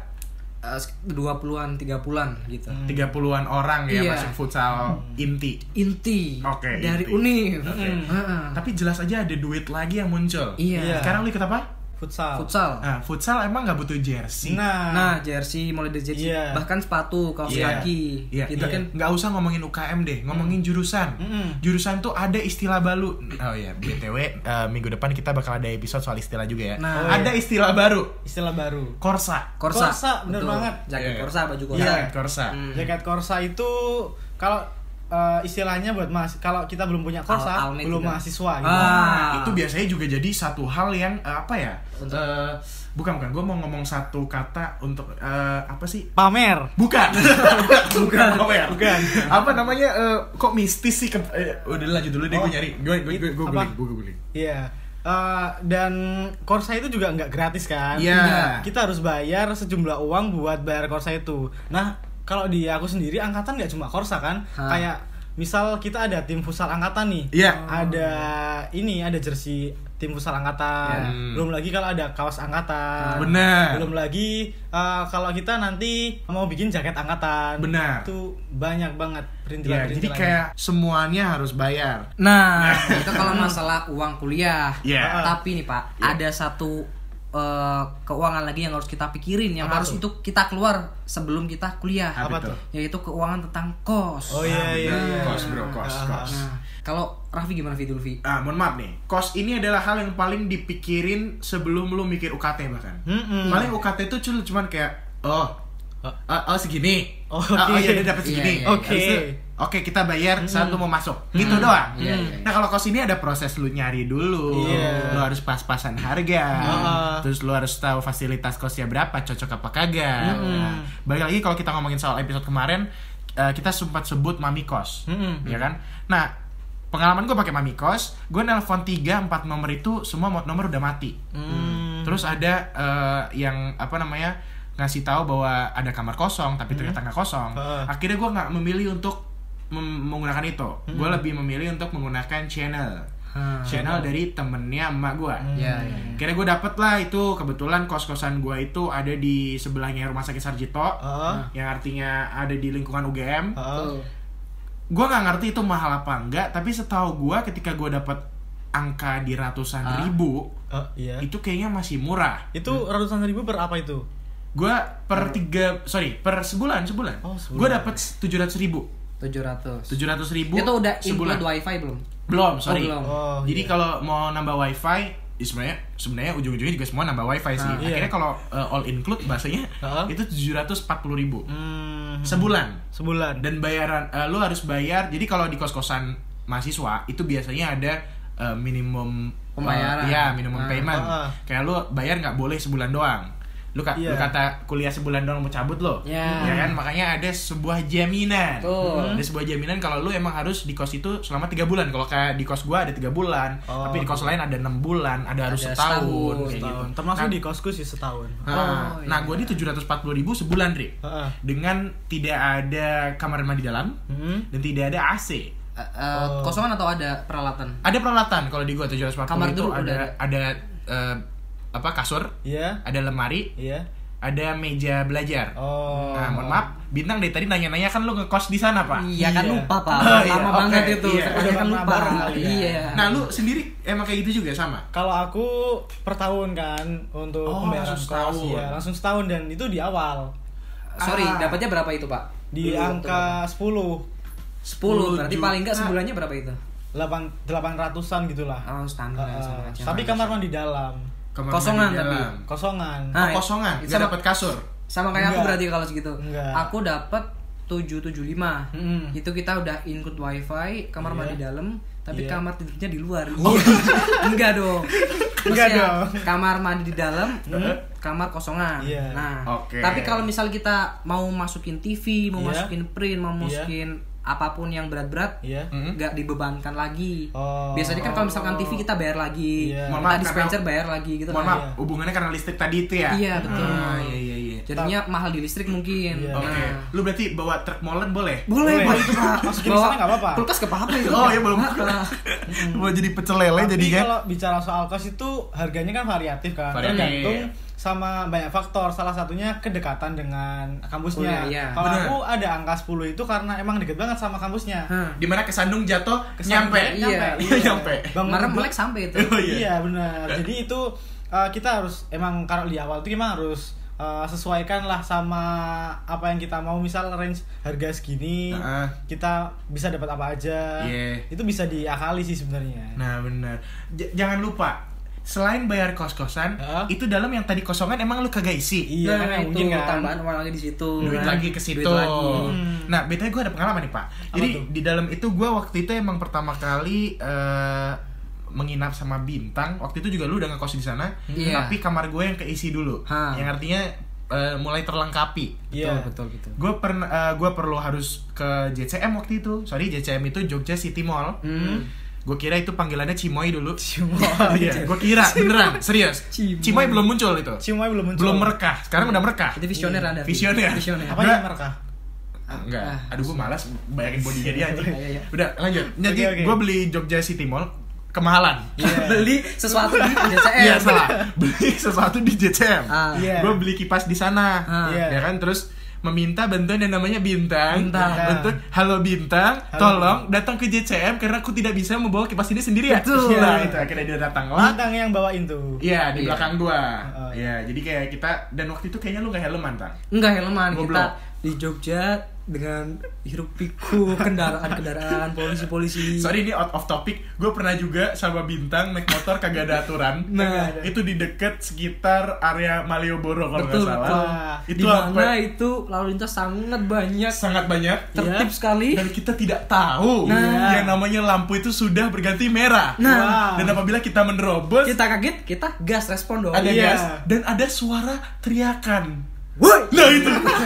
dua puluhan tiga puluhan gitu Hmm. 30-an orang ya Iya. masuk futsal inti. inti Oke, dari inti. univ Oke. Heeh. Tapi jelas aja ada duit lagi yang muncul. Hmm. iya Iya. Sekarang lu ikut apa? Futsal. futsal Nah, futsal emang nggak butuh jersey. Nah. nah jersey mulai dari jersey Iya. bahkan sepatu kaos Iya. kaki Iya, gitu Hmm. kita kan nggak usah ngomongin UKM deh, ngomongin jurusan. Mm-mm. Jurusan tuh ada istilah baru. Oh iya, BTW eh, minggu depan kita bakal ada episode soal istilah juga ya. Oh, Nah. iya. ada istilah baru, Istilah baru. korsa. korsa, Korsa, bener betul. banget. jaket Iya. korsa baju korsa Iya, korsa. Hmm. Jaket Korsa itu kalau eh, istilahnya buat mas kalau kita belum punya Korsa, Al- almet belum juga. mahasiswa gitu. Ah. Nah, Itu biasanya juga jadi satu hal yang eh, apa ya? Untuk- Eh, bukan bukan, gue mau ngomong satu kata untuk eh, apa sih? Pamer. Bukan, [laughs] bukan, bukan, Bukan. Apa namanya? eh, kok mistis sih? Ke, eh, udah lanjut dulu deh, gue Oh. nyari. Gue gue gue gue Apa? guling, gue guling. Iya. Eh, dan Korsa itu juga nggak gratis kan? Iya. Kita harus bayar sejumlah uang buat bayar Korsa itu. Nah, kalau di aku sendiri angkatan nggak cuma Korsa kan? Hah. Kayak misal kita ada tim futsal angkatan nih. Iya. Ada ini ada jersey tim futsal angkatan. Iya. Belum lagi kalau ada kaos angkatan. Benar. Belum lagi eh, kalau kita nanti mau bikin jaket angkatan. Benar. Itu banyak banget perintilan. Iya, jadi kayak semuanya harus bayar. Nah, itu kalau masalah uang kuliah. Iya. Tapi nih Pak, ada satu eh, keuangan lagi yang harus kita pikirin, yang Apa harus tuh? itu kita keluar sebelum kita kuliah, Apa tuh? yaitu keuangan tentang kos. Oh iya iya. iya. Kos bro, kos, Ah. kos. Nah, kalau Raffi gimana Fi dulu Fi? Ah, mohon maaf nih. Kos ini adalah hal yang paling dipikirin sebelum lu mikir UKT bahkan. Mm-mm. Paling UKT itu cuma cuman kayak oh, Oh. Hmm. oh, oh, segini. Oh, Ah, oh oke. Hmm. iya dia dapat Iya, segini. iya, Oke. Habis itu, Oke kita bayar saat lu mau masuk Gitu doang Iya, iya, iya. Nah kalau kos ini ada proses lu nyari dulu Lu Iya. harus pas-pasan harga Heeh. Terus lu harus tahu fasilitas kosnya berapa Cocok apa kagak Hmm. Nah, Balik lagi kalau kita ngomongin soal episode kemarin eh, Kita sempat sebut mami kos Mm-mm. ya kan? Nah pengalaman gue pakai mami kos Gue nelpon 3-4 nomor itu semua mo- nomor udah mati Hmm. Terus ada eh, yang apa namanya ngasih tahu bahwa ada kamar kosong tapi ternyata nggak kosong. Heeh. Akhirnya gue nggak memilih untuk mem- menggunakan itu. Gue lebih memilih untuk menggunakan channel. Hmm. Channel dari temennya emak gue. Iya, iya. Akhirnya gue dapet lah itu kebetulan kos-kosan gue itu ada di sebelahnya rumah sakit Sarjito. Heeh. Yang artinya ada di lingkungan UGM. Heeh. Tuh. Gue nggak ngerti itu mahal apa enggak, tapi setahu gue ketika gue dapet angka di ratusan Ah. ribu, Eh, iya. itu kayaknya masih murah. Itu ratusan ribu per apa itu? gue per tiga sorry per sebulan sebulan, Oh, sebulan. gue dapat tujuh ratus ribu 700. tujuh ratus ribu Itu udah sebulan include wifi belum? belum sorry belum. Ah. Oh, jadi iya. kalau mau nambah wifi ya sebenarnya sebenarnya ujung-ujungnya juga semua nambah wifi sih Ah, iya. akhirnya kalau uh, all include bahasanya Heeh. itu tujuh ratus empat puluh ribu Hmm. sebulan sebulan. dan bayaran eh, lu harus bayar jadi kalau di kos-kosan mahasiswa itu biasanya ada eh, minimum Pembayaran. eh, iya minimum Ah. payment Ah. kayak lu bayar nggak boleh sebulan doang lu, ka- lu Iya. kata kuliah sebulan doang mau cabut lo Ya. ya kan makanya ada sebuah jaminan Betul. ada sebuah jaminan kalau lu emang harus di kos itu selama tiga bulan kalau kayak di kos gua ada tiga bulan Oh. tapi di kos lain ada enam bulan ada harus Ada setahun, setahun, kayak gitu Setahun. Termasuk Nah, di kosku sih setahun. Ah, nah, Oh, nah iya. gua di tujuh ratus empat puluh ribu sebulan Ri Heeh. dengan tidak ada kamar mandi dalam Hmm. dan tidak ada AC. Eh, eh, Oh. Kosongan atau ada peralatan? Ada peralatan kalau di gua 740 Kamar itu dulu ada udah ada eh, apa kasur, Iya. ada lemari, Iya. ada meja belajar. Oh. Nah, mohon maaf, Bintang dari tadi nanya-nanya kan lu ngekos di sana, Pak. Iya kan Iya. lupa pak, Oh, iya, lama oke, banget itu. iya. Sekarang Udah kan lama lupa. banget, iya. Iya. Nah, lu sendiri emang kayak gitu juga sama? Kalau aku per tahun kan untuk Oh, pembayaran langsung kos, setahun. iya. langsung setahun dan itu di awal sorry, Ah. dapatnya berapa itu pak? di Iya, Dulu angka 10 waktu- 10 berarti juta. paling enggak Ah. sebulannya berapa itu? 8 800-an gitulah. Oh, standar, Heeh. sama aja. Ah, Tapi kamar mandi dalam, Kamar Kosongan mandi tapi. dalam. kosongan. Ah, Oh, kosongan, itu nggak sama- dapat kasur. Sama kayak aku Enggak. berarti kalau segitu. Enggak. Aku dapat 775. Mm-mm. Itu kita udah include wifi, kamar Iya. mandi dalam, tapi Iya. Oh. kamar tidurnya di luar. Iya. [laughs] enggak dong. Enggak Maksudnya, dong. Hmm. Kamar mandi di dalam, hmm, kamar kosongan. Iya. Nah, Oke. tapi kalau misal kita mau masukin TV, mau Iya. masukin print, mau Iya. masukin apapun yang berat-berat, Iya. Mm. nggak dibebankan lagi. Oh. Biasanya kan kalau misalkan TV kita bayar lagi, Iya. Mohon kita maaf, dispenser karena- bayar lagi gitu Mohon kan. maaf, hubungannya karena listrik tadi itu ya? Iya, betul. Ah, iya, iya, iya. Jadinya mahal di listrik mungkin. Iya. Oke, Nah, lu berarti bawa truk molen boleh? Boleh, Boleh. boleh itu Pak. Masukin Bawa sana nggak apa-apa. Kulkas kepapa itu. Oh, iya, belum. [laughs] Nah, Mau jadi kan? pecel lele Tapi jadinya. kalau bicara soal kos itu harganya kan variatif kan. Variatif. Tergantung sama banyak faktor. Salah satunya kedekatan dengan kampusnya. Oh, iya, iya. Kalau Bener. aku ada angka 10 itu karena emang deket banget sama kampusnya. Hah. Dimana kesandung jatuh, Kesan- nyampe. iya. Nyampe. Bangun Marah duduk- melek sampai itu. [laughs] Oh, iya. iya benar jadi itu uh, kita harus emang kalau di awal itu emang harus uh, sesuaikan lah sama apa yang kita mau misal range harga segini Heeh. kita bisa dapat apa aja Iya. itu bisa diakali sih sebenarnya Nah benar. J- jangan lupa selain bayar kos-kosan, Heeh. itu dalam yang tadi kosongan emang lu kagak isi. [laughs] iya nah, kan yang itu mungkin kan tambahan uang lagi di situ. Duit kan. lagi ke situ. Duit lagi. Hmm. Nah, betulnya gue ada pengalaman nih, Pak. Jadi tuh? di dalam itu gue waktu itu emang pertama kali eh, menginap sama Bintang. Waktu itu juga lu udah ngekos di sana, Iya. tapi kamar gue yang keisi dulu. Hah. Yang artinya eh, mulai terlengkapi. iya Betul, betul, betul. Gue pernah, eh, gue perlu harus ke JCM waktu itu. Sorry, JCM itu Jogja City Mall. Hmm. Gue kira itu panggilannya Cimoy dulu. [laughs] Iya, gue kira beneran, serius. Cimoy. Cimoy. belum muncul itu. Cimoy belum muncul Belum Nah. merekah, sekarang udah merekah. Itu visioner Anda. Visioner. Visioner. Nah. apa Bra- yang mereka Ah, Enggak, Ah, aduh gue malas bayangin bodinya dia anjing. Iya, iya. Udah, lanjut. Jadi oke. gue beli Jogja City Mall kemahalan. Iya. Beli sesuatu [laughs] di JCM. Iya, salah. Beli sesuatu di JCM. Ah. Iya. Gue beli kipas di sana. Ah. Iya. Ya kan terus meminta bantuan yang namanya Bintang, Nah, Bintang. untuk halo Bintang, Halo. tolong datang ke JCM karena aku tidak bisa membawa kipas ini sendirian. Betul. Nah, itu akhirnya dia datanglah. bintang yang bawain tuh Iya di Iya. belakang gua. Heeh. Iya jadi kayak kita dan waktu itu kayaknya lu gak helman tang. Enggak helman, Goblok. kita di Jogja dengan hiruk pikuk kendaraan kendaraan polisi polisi Sorry ini out of topic. Gue pernah juga sama Bintang naik motor kagak ada aturan. [laughs] Nah. itu di deket sekitar area Malioboro kalau nggak betul salah. Nah, betul Itu di apa? mana itu lalu lintas sangat banyak Sangat banyak. tertib sekali ya. Dan kita tidak tahu Nah. yang namanya lampu itu sudah berganti merah. Nah. Dan apabila kita menerobos kita kaget kita gas respon dong ada Iya. gas dan ada suara teriakan. Woi! Nah itu [laughs]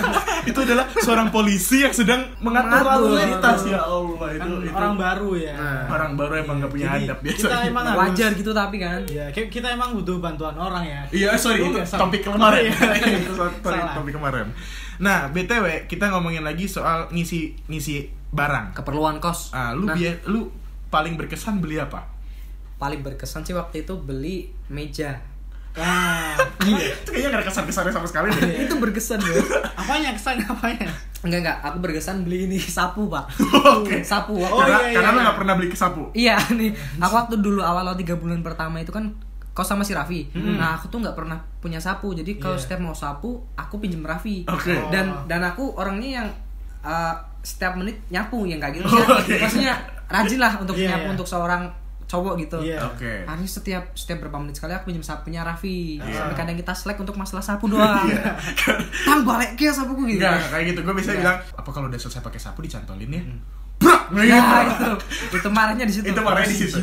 itu adalah seorang polisi yang sedang mengatur lalu Mengatur. lintas ya Allah itu, Kan itu. orang baru ya. Nah, orang baru emang nggak punya Jadi, hadap biasanya. Kita emang harus- wajar gitu tapi kan Ya, ki- kita emang butuh bantuan orang ya. Iya, sorry, itu Dulu ya, Sam. topik kemarin. Iya, iya. [laughs] Itu so- sorry, Salah. topik kemarin. Nah, BTW, kita ngomongin lagi soal ngisi ngisi barang. keperluan kos Ah, lu Nah, bia- lu paling berkesan beli apa? paling berkesan sih waktu itu beli meja [laughs] Nah, Itu [laughs] kayaknya gak ada kesan-kesannya sama sekali deh. itu berkesan ya apanya kesan apanya? enggak enggak aku berkesan beli ini sapu pak Oke. sapu waktu Oh, karena iya, karena iya. lu gak pernah beli ke sapu. Iya [laughs] nih, aku waktu dulu awal-awal tiga bulan pertama itu kan kau sama si Raffi. Hmm. Nah aku tuh nggak pernah punya sapu, jadi kalau Iya. setiap mau sapu aku pinjem Raffi. Oke. Oh. Dan dan aku orangnya yang uh, setiap menit nyapu yang kayak gitu. Oh, Maksudnya- oke. [laughs] Maksudnya rajin lah untuk Iya, nyapu iya. untuk seorang cowok gitu. Iya. Oke. Akhirnya setiap setiap berapa menit sekali aku pinjem sapunya Raffi. Iya. Sampai kadang kita slack untuk masalah sapu doang. [laughs] Tam balik ke Iya. sapuku gitu. Enggak, kayak gitu. Gue biasanya bilang, apa kalau udah selesai pakai sapu dicantolin ya? Hmm. Brak! Nah, gitu. Iya, Nah, itu itu marahnya di situ. Itu marahnya di situ.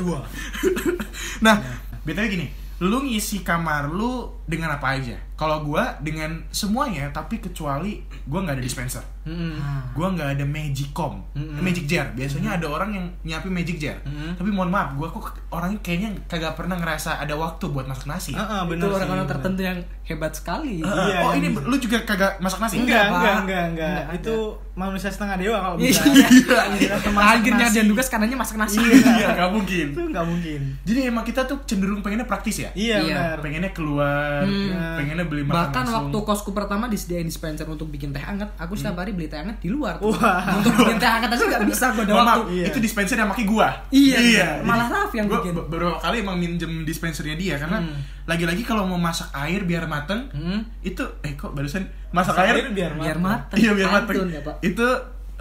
nah, Iya. BTW gini, lu ngisi kamar lu dengan apa aja? Kalau gua dengan semuanya, tapi kecuali gua nggak ada dispenser. Mm-mm. Ah. Gua nggak ada magicom, magic jar. Biasanya ada orang yang nyiapin magic jar. Tapi mohon maaf, gua kok orangnya kayaknya kagak pernah ngerasa ada waktu buat masak nasi. Heeh, itu bener sih, orang-orang bener. tertentu yang hebat sekali. Heeh. Iya, oh iya. ini lu juga kagak masak nasi? Enggak, Enggak, enggak, Pak. enggak, enggak. Enggak Itu manusia setengah dewa kalau bisa. [laughs] Iya. Termasuk Akhirnya nasi. dia tugas kanannya masak nasi. Iya, nggak mungkin. Itu nggak mungkin. Jadi emang kita tuh cenderung pengennya praktis ya? Iya, Iya. benar. Pengennya keluar, ya, Hmm. pengennya beli makan Bahkan langsung. Hmm. waktu kosku pertama disediain dispenser untuk bikin teh hangat, aku setiap hari beli teh hangat di luar. tuh. Wah. Untuk bikin teh hangat aja [laughs] nggak bisa gua ada Mohon maaf, waktu. Iya. itu dispenser yang maki gua. Iya, malah Raf yang gua bikin. be- beberapa kali emang minjem dispensernya dia karena lagi-lagi kalau mau masak air biar mateng Hmm, itu eh kok barusan masak, Air air, biar biar matang. mateng. iya biar mateng. Pantun ya, Pak. Itu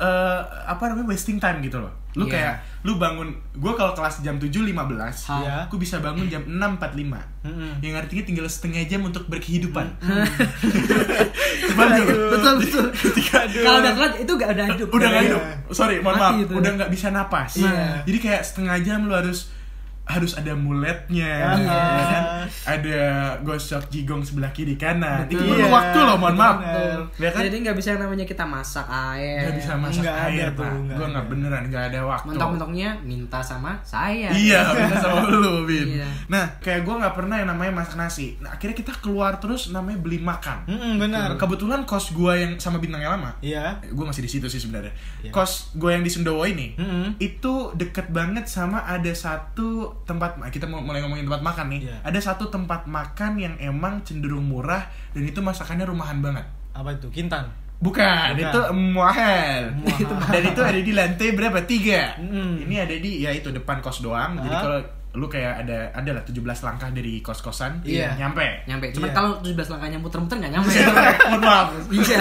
eh, apa namanya wasting time gitu loh. Lu Iya. kayak lu bangun gua kalau kelas jam 7.15, Iya. aku bisa bangun jam 6.45. Hmm. Mm-mm. Yang artinya tinggal setengah jam untuk berkehidupan. [laughs] Betul betul. [laughs] Kalau udah telat itu gak ada hidup. udah nggak Iya. hidup sorry mohon Mati maaf itu. udah nggak bisa napas Iya. jadi kayak setengah jam lu harus harus ada muletnya Iya. ya kan? ada gosok jigong sebelah kiri kanan itu Betul. perlu Iya, waktu loh mohon maaf betul. ya kan Jadi nggak bisa yang namanya kita masak air. nggak bisa masak Nggak ada air tuh, pak nggak gue nggak ada. beneran nggak ada waktu Mentok-mentoknya minta sama saya. Iya, bener [laughs] sama lu, Bin. Iya. Nah, kayak gue nggak pernah yang namanya masak nasi. Nah, akhirnya kita keluar terus namanya beli makan. Mm-mm, benar. Kebetulan kos gue yang sama bintang yang lama, Iya. gue masih di situ sih sebenarnya. Iya. Hmm. Kos gue yang di Sundowo ini, Mm-mm. itu deket banget sama ada satu tempat ma- kita mau mulai ngomongin tempat makan nih Iya. ada satu tempat makan yang emang cenderung murah dan itu masakannya rumahan banget Apa itu? Kintan. bukan, Bukan. itu muahel Muahel. [laughs] dan itu ada di lantai berapa tiga Mm. ini ada di ya itu depan kos doang jadi Hah? kalau lu kayak ada ada lah 17 langkah dari kos kosan Iya. nyampe Nyampe. Cuman Iya. kalau 17 langkahnya muter-muter nggak nyampe. [laughs] mohon maaf [laughs] [laughs] Iya.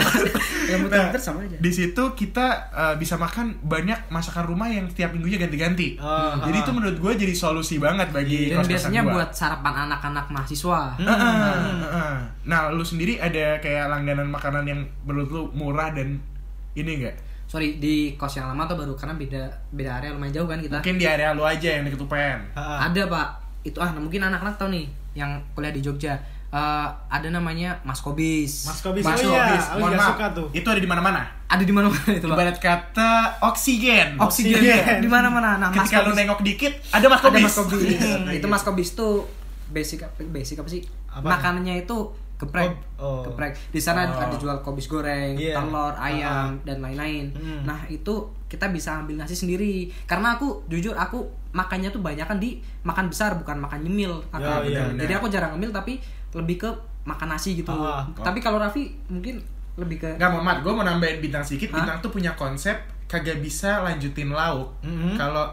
Yang Nah, muter-muter sama aja. di situ kita eh, bisa makan banyak masakan rumah yang tiap minggunya ganti-ganti. Ah, Hmm, jadi ah. itu menurut gue jadi solusi banget bagi Iya, Dan kos-kosan biasanya gua. Hmm. buat Hmm. sarapan anak-anak mahasiswa. Heeh, heeh. Nah, lu sendiri ada kayak langganan makanan yang menurut lu murah dan ini enggak? Sorry di kos yang lama atau baru karena beda beda area lumayan jauh kan kita. Mungkin di area lu aja yang deket UPN. Ha-ha. Ada pak. Itu ah mungkin anak-anak tahu nih yang kuliah di Jogja. Eh, ada namanya Mas Kobis. Mas Kobis. Mas Oh iya, Ah, Robis, aku mohon juga maaf. suka tuh. Itu ada di mana-mana. Ada di mana-mana itu pak. Ibarat kata oksigen. Oksigen, Oksigen. di mana-mana. Nah, Mas Ketika lu Kobis- nengok dikit, ada Mas ada Kobis. Mas [laughs] Kobis. Iya, gitu. itu Mas Kobis tuh basic apa- basic apa sih? Apa? Makanannya itu geprek. Oh, oh. Geprek. Di sana Oh. ada jual kobis goreng, Iya. telur, ayam dan lain-lain. Mm. Nah, itu kita bisa ambil nasi sendiri. Karena aku jujur aku makannya tuh banyak kan di makan besar bukan makan nyemil. Aku. Ya, iya, Jadi benar. aku jarang ngemil tapi lebih ke makan nasi gitu. Ah. Tapi kalau Raffi mungkin lebih ke Nggak, Mamat, gue mau nambahin bintang sedikit. Hah? Bintang tuh punya konsep kagak bisa lanjutin lauk. Mhm. Kalau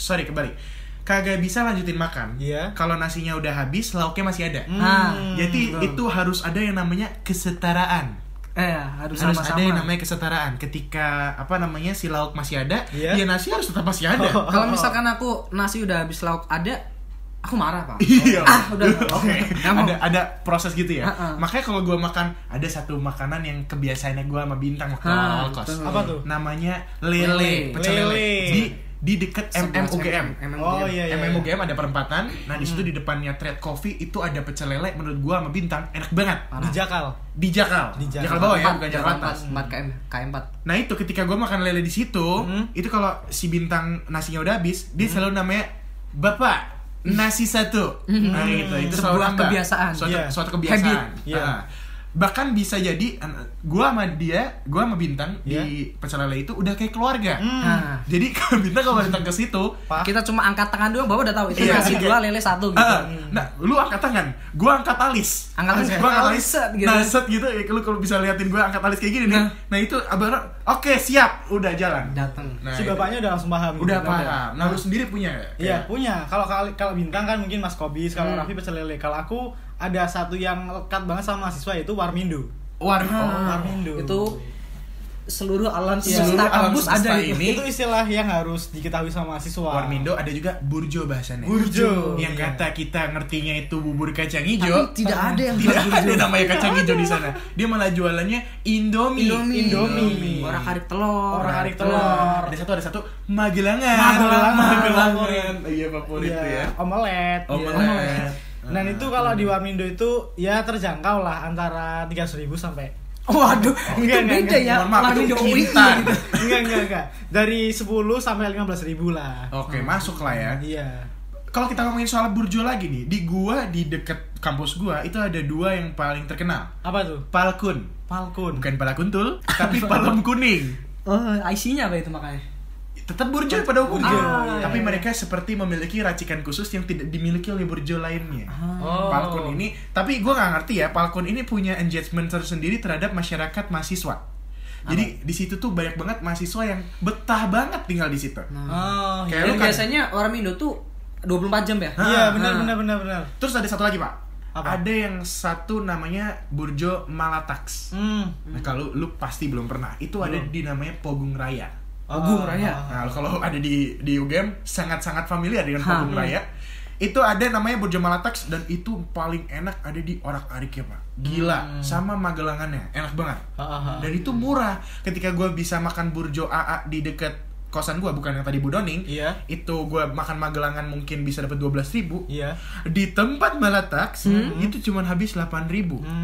sorry kebalik, kagak bisa lanjutin makan. Iya. Kalau nasinya udah habis, lauknya masih ada. Hmm. Ah, Jadi itu harus ada yang namanya kesetaraan. eh harus Harus sama-sama ada yang namanya kesetaraan. Ketika apa namanya si lauk masih ada, Iya. Oh, ya nasi harus tetap masih ada. kalau misalkan aku nasi udah habis lauk ada aku marah [laughs] pak Iya. ah udah Oke. Nggak mau. [laughs] Ada ada proses gitu ya. Ha-ha. Makanya kalau gua makan ada satu makanan yang kebiasaannya gua sama bintang waktu Ha, awal Ah, kos. betul. Apa tuh? Namanya lele, Lele. pecel lele. Lele. Di di deket MMUGM. Oh iya iya. iya. MMUGM ada perempatan. Nah, di Hmm. situ di depannya Trade Coffee itu ada pecel lele menurut gua sama bintang enak banget. Ah. Di Jakal. Di Jakal. Di Jakal Jakal. bawah ya, bukan Jakal atas. 4 KM KM4 Nah itu ketika gue makan lele di situ, Hmm. itu kalau si bintang nasinya udah habis, dia Hmm. selalu namanya bapak nasi satu. Nah gitu, itu selalu Hmm. Sebuah nambah. kebiasaan. Suatu, Iya. suatu kebiasaan. Habit. Iya. Iya. Bahkan bisa jadi an- gua sama dia, gua sama bintang di pecel lele itu udah kayak Iya. keluarga. Hmm. Nah, Jadi [laughs] kalau bintang kalau datang ke situ, Pak. kita cuma angkat tangan doang bapak udah tahu itu Iya, nasi oke. dua lele satu gitu ah, nah lu angkat tangan, gua angkat alis. Angkat alis, gua angkat angkat alis. alis, set gitu. Nah, set gitu, ya, lu kalau bisa liatin gua angkat alis kayak gini nih. Nah. Nah itu abang, oke siap, udah jalan. datang Nah, si itu. bapaknya udah langsung paham. udah gitu. paham. Nah, lu sendiri punya ya? Iya punya. Kalau kali- kalau bintang kan mungkin Mas Kobis, Hmm. kalau Raffi pecel lele. Kalau aku ada satu yang lekat banget sama mahasiswa yaitu Warmindo. Oh, Warna. Warmindo. itu seluruh alam Iya. semesta Seluruh alam kampus semesta ada gitu ini. itu istilah yang harus diketahui sama mahasiswa. Warmindo ada juga burjo bahasanya. Burjo. Yang Iya. kata kita ngertinya itu bubur kacang tapi hijau. Ah, tidak ada yang Tidak bagus ada juga. namanya kacang hijau di sana. Dia malah jualannya Indomie. Indomie. Indomie. orang karik telur Gitu. Orang karik telur. Ada satu ada satu Magelangan. Magelangan. Magelangan. Iya favorit Iya, tuh ya. Omelet. Omelet. Nah, Iya, Dan itu kalau di Warmindo itu ya terjangkau lah antara 300.000 sampai waduh itu Oh, Enggak, enggak, beda enggak. ya Mohon maaf, Warmindo itu UI kintan. gitu. [laughs] enggak enggak enggak dari 10 sampai 15.000 lah. Oke, masuk lah ya. Iya. Kalau kita ngomongin soal burjo lagi nih, di gua di deket kampus gua itu ada dua yang paling terkenal. Apa tuh? Palkun. Palkun. Bukan pala kuntul, tapi palem kuning. oh IC-nya apa itu makanya tetap burjo pada umumnya Burjo, Ah, tapi iya. mereka seperti memiliki racikan khusus yang tidak dimiliki oleh burjo lainnya Oh. Palkun ini tapi gue nggak ngerti ya Palkun ini punya engagement tersendiri terhadap masyarakat mahasiswa jadi di situ tuh banyak banget mahasiswa yang betah banget tinggal di situ Oh, Kayak iya. lu Dan kan- biasanya orang Indo tuh 24 jam ya Ah, Iya, benar ah. benar benar benar. terus ada satu lagi pak Apa? ada yang satu namanya burjo malataks Hmm. nah kalau lu pasti belum pernah itu ada di namanya pogung raya Ogung, Raya. Nah, Ah. kalau [laughs] ada di di UGM sangat-sangat familiar dengan Ha. Pogung Raya. Itu ada namanya Burjo Malataks dan itu paling enak ada di orak-arik ya, Pak. Gila, sama magelangannya. Enak banget. Ah, ah, ah. Dan itu murah. Ketika gua bisa makan burjo AA di dekat kosan gua bukan yang tadi Budoning. Iya. Itu gua makan magelangan mungkin bisa dapat 12.000 ribu Iya. Di tempat Malataks itu cuman habis 8.000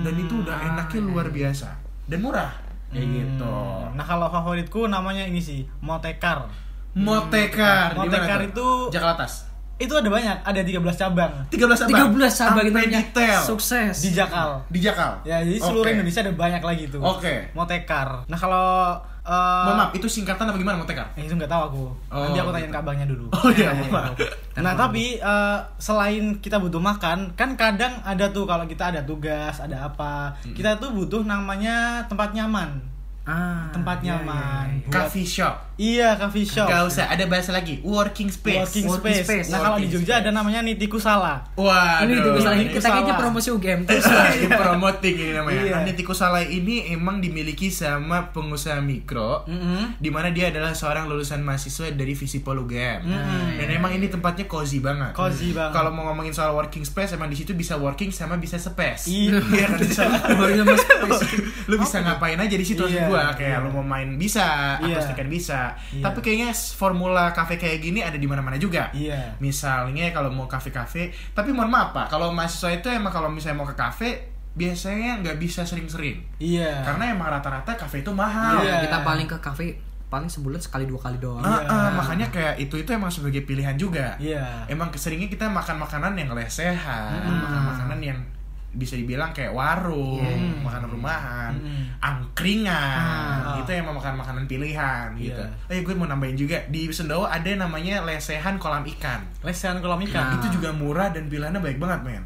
dan itu udah enaknya luar biasa dan murah. Kayak gitu. Hmm. Nah, kalau favoritku namanya ini sih, Motekar. Motekar. di mana Motekar tuh? itu Jakarta Atas. itu ada banyak, ada 13 cabang 13 abang. 13 sahabat Sampai gitu detail. sukses di Jakal. Di Jakal. Ya, jadi seluruh Oke. Indonesia ada banyak lagi tuh. Oke. Motekar. Nah, kalau eh, Mohon maaf, itu singkatan apa gimana Motekar? Eh, itu nggak tahu aku. Oh, Nanti aku tanyain gitu. kabangnya dulu. [laughs] Oh iya, Iya, maaf. iya. Nah, tapi eh, selain kita butuh makan, kan kadang ada tuh kalau kita ada tugas, ada apa, kita tuh butuh namanya tempat nyaman. ah, Tempat iya, nyaman. iya, iya. Buat- Coffee shop. Iya, coffee shop. Gak usah, ada bahasa lagi. Working space. Working, Working space. space. Nah, kalau di Working Jogja space. ada namanya Nitiku Salah. Waduh. ini tikus lagi Tikus kita kayaknya sawah. promosi UGM terus ya. Ini promoting ini namanya. Iya. Nah, Nitiko Salai ini emang dimiliki sama pengusaha mikro, di mana dia adalah seorang lulusan mahasiswa dari Visipol UGM. Dan emang ini tempatnya cozy banget. Mm. Cozy banget. Kalau mau ngomongin soal working space, emang di situ bisa working sama bisa space. [laughs] Iya. kan? Bisa- [laughs] [laughs] baru sama space lu bisa ngapain aja di situ maksud Iya, gua kayak iya. lu mau main bisa Iya. akustikan bisa Iya. tapi kayaknya s- formula kafe kayak gini ada di mana-mana juga Iya. misalnya kalau mau kafe-kafe tapi mohon maaf pak kalau mahasiswa itu emang kalau misalnya mau ke kafe biasanya nggak bisa sering-sering Iya. karena emang rata-rata kafe itu mahal Iya. Nah, kita paling ke kafe paling sebulan sekali dua kali doang Ah, ah, makanya kayak itu itu emang sebagai pilihan juga Iya. emang keseringnya kita makan makanan yang lesehan Hmm. makan makanan yang bisa dibilang kayak warung Iya, makanan rumahan angkringan Hmm. Ah. itu emang makan makanan pilihan gitu Iya. oh iya gue mau nambahin juga di Sendawa ada yang namanya lesehan kolam ikan kan Lesehan kolam ikan. itu juga murah dan pilihannya baik banget men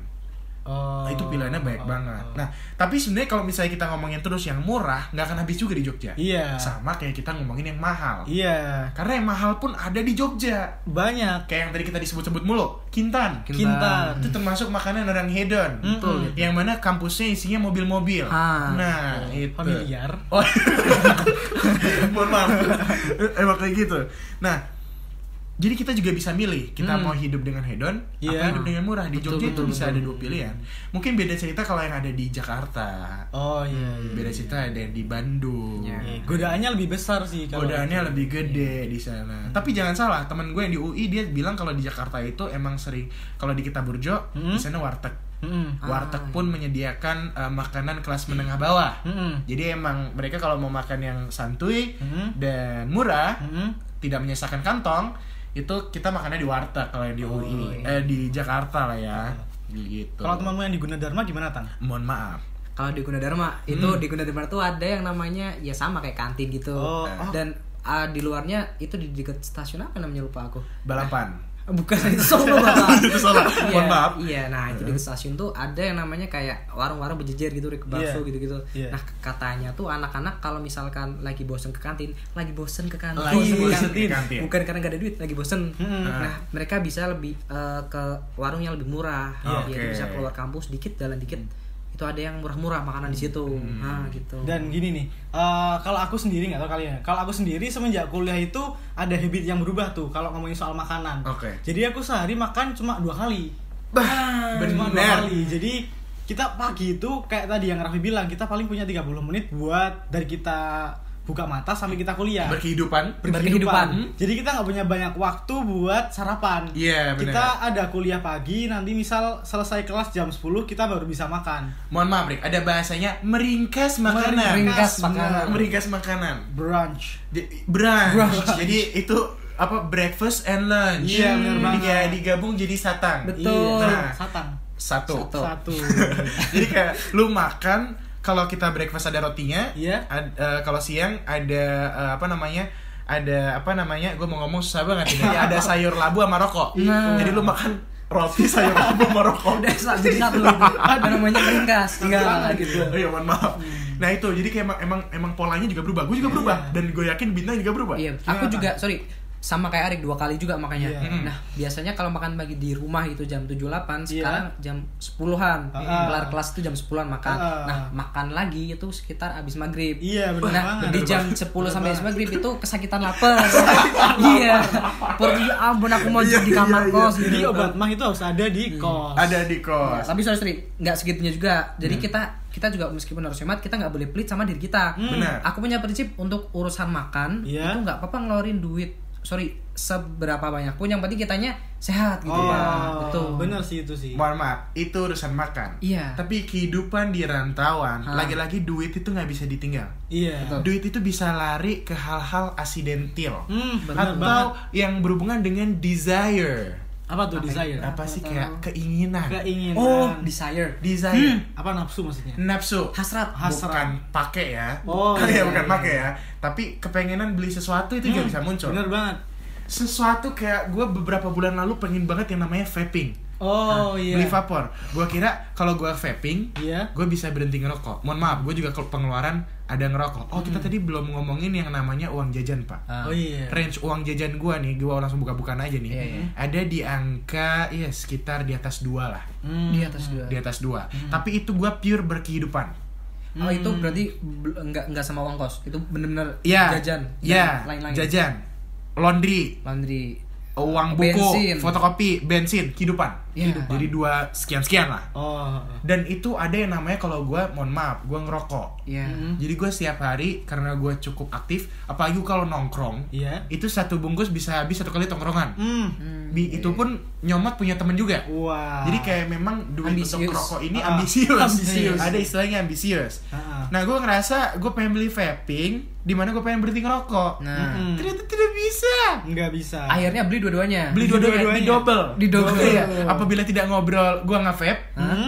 Oh. Nah, itu pilihannya banyak Oh. banget. Nah, tapi sebenarnya kalau misalnya kita ngomongin terus yang murah, nggak akan habis juga di Jogja. Iya. Sama kayak kita ngomongin yang mahal. Iya, Karena yang mahal pun ada di Jogja. banyak. Kayak yang tadi kita disebut-sebut mulu, Kintan. Kintan. Kintan. Itu termasuk makanan orang hedon. Betul. Yang mana kampusnya isinya mobil-mobil. Ah. Nah, itu. Familiar. Oh, mohon maaf. [laughs] Emang kayak gitu. Nah, jadi kita juga bisa milih kita Hmm. mau hidup dengan hedon Iya. apa hidup dengan murah di Betul, Jogja betul, itu bisa betul. ada dua pilihan mungkin beda cerita kalau yang ada di Jakarta Oh iya. iya. Hmm, beda cerita ada yang di Bandung Iya. Iya, Godaannya lebih besar sih kalau gitu. godaannya lebih gede di sana iya. tapi jangan salah teman gue yang di UI dia bilang kalau di Jakarta itu emang sering kalau di Kitaburjo Hmm. di sana warteg Mm-mm. Ah, warteg pun iya. menyediakan eh, makanan kelas menengah bawah Hmm. Mm-mm. jadi emang mereka kalau mau makan yang santuy Hmm. Mm-mm. dan murah, Mm-mm. tidak menyesakan kantong, itu kita makannya di warteg kalau yang di Oh, UI, iya. eh di Jakarta lah ya. Gitu. Kalau temanmu yang di Gunadarma gimana, Tan? mohon maaf. kalau di Gunadarma itu di Gunadarma itu ada yang namanya ya sama kayak kantin gitu Oh, dan ah, di luarnya itu di dekat stasiun apa namanya lupa aku Balapan. bukan [laughs] itu solo bapak Itu salah. [laughs] Iya, Mohon maaf. iya nah itu di stasiun tuh ada yang namanya kayak warung-warung berjejer gitu Rick bakso Iya. gitu gitu Iya. nah katanya tuh anak-anak kalau misalkan lagi bosen ke kantin lagi bosen ke kantin Lagi bosen ke bosen kantin. ke kantin. bukan karena gak ada duit lagi bosen Mm-mm. Ah. nah mereka bisa lebih eh, ke warung yang lebih murah Iya. Iya, Hmm. dia Oke. bisa keluar kampus dikit jalan dikit itu ada yang murah-murah makanan di situ nah gitu Dan gini nih, eh, kalau aku sendiri nggak tahu kalian. ya. Kalau aku sendiri semenjak kuliah itu ada habit yang berubah tuh kalau ngomongin soal makanan. Oke. Jadi aku sehari makan cuma dua kali. Ah, Bah, Cuma dua bener. kali. Jadi kita pagi itu kayak tadi yang Raffi bilang kita paling punya 30 menit buat dari kita buka mata sampai kita kuliah. Berkehidupan. Hmm? Berkehidupan. Jadi kita nggak punya banyak waktu buat sarapan. Iya, benar. Kita ada kuliah pagi, nanti misal selesai kelas jam 10 kita baru bisa makan. Mohon maaf, Rick. Ada bahasanya meringkas makanan. Meringkas Nah, makanan. Meringkas makanan. Brunch. Di- Brunch. Jadi itu apa breakfast and lunch. Iya, bener Jadi banget. kayak digabung jadi satang. Nah, Betul. Iya, satang. Satu. Satu. Satu. [laughs] Jadi kayak lu makan kalau kita breakfast ada rotinya, Iya. ad- eh, kalau siang ada eh, apa namanya? Ada apa namanya? Gue mau ngomong susah banget ini. Jadi ada sayur labu sama rokok. Nah. Jadi lu makan roti sayur labu sama rokok. udah sa- jadi satu [laughs] ada namanya ringkas tinggal gitu Oh iya, mohon maaf. Nah itu jadi kayak emang emang, emang polanya juga berubah. Gue juga berubah dan gue yakin bintang juga berubah. Iya, aku juga sorry sama kayak Arik dua kali juga makanya. Iya. Mm. Nah, biasanya kalau makan pagi di rumah itu jam 7-8, Iya. sekarang jam 10-an. Ah. Kelar kelas itu jam 10-an makan. Ah. Nah, makan lagi itu sekitar abis maghrib. Iya, bener Nah, banget. di Bener jam 10 sampai abis maghrib itu kesakitan lapar. [laughs] Iya. Perut ya ampun aku Iya, mau di kamar kos gitu. Jadi obat mah itu harus ada di kos. Iya, Hmm. Ada di Ya, kos. tapi sorry, sorry, nggak segitunya juga. Jadi kita kita juga meskipun harus hemat, kita nggak boleh pelit sama diri kita. Benar. Aku punya prinsip untuk urusan makan Iya. itu nggak apa-apa ngeluarin duit. Sorry, seberapa banyak pun yang penting kitanya sehat gitu Oh, ya. Betul. Bener sih itu sih. Mohon maaf, itu urusan makan. Iya. Tapi kehidupan di rantauan, Hah. lagi-lagi duit itu nggak bisa ditinggal. Iya. Betul. duit itu bisa lari ke hal-hal asidentil Hmm, atau bener banget. yang berhubungan dengan desire Apa tuh desire? apa sih kayak keinginan Keinginan. Oh, desire. desire apa nafsu maksudnya? nafsu Hasrat. Hasrat. bukan pakai ya Oh, Bukan [laughs] ya iya, bukan iya, Hmm, pakai ya tapi kepengenan beli sesuatu itu juga bisa muncul Bener banget. sesuatu kayak gue beberapa bulan lalu pengen banget yang namanya vaping Oh iya. Nah, beli vapor gue kira kalau gue vaping Iya. gue bisa berhenti ngerokok mohon maaf gue juga kalau pengeluaran ada ngerokok oh kita tadi belum ngomongin yang namanya uang jajan pak Hmm. Ah. Oh iya. range uang jajan gua nih, gua langsung buka-bukaan aja nih. Iya, iya. Ada di angka ya sekitar di atas dua lah, Hmm. Di atas dua. Hmm. di atas dua. Tapi itu gua pure berkehidupan. Oh, itu berarti bel- nggak nggak sama uang kos. Itu benar-benar Iya. jajan. dan Iya. Lain-lain. Jajan, laundry, Laundry. uang buku, Bensin. fotokopi, bensin, kehidupan. Iya. Kehidupan. Jadi dua sekian-sekian lah. Oh. Dan itu ada yang namanya kalau gua mohon maaf, gua ngerokok. Iya. Mm. Mm-hmm. Jadi gua setiap hari karena gua cukup aktif, apalagi kalau nongkrong, Iya. itu satu bungkus bisa habis satu kali tongkrongan. Hmm. Bi- itu pun nyomot punya temen juga. Wah. Jadi kayak memang duit Ambisius. untuk rokok ini Ah, ambisius. ambisius. Ada istilahnya ambisius. Ah. Nah, gue ngerasa gue pengen beli vaping, di mana gue pengen berhenti ngerokok. Nah, Mm-mm. Ternyata tidak bisa. Hmm. nggak bisa. akhirnya beli dua-duanya. Beli dua-duanya, dua-duanya. di double. Di double. Iya. Apabila tidak ngobrol, gue nggak vape.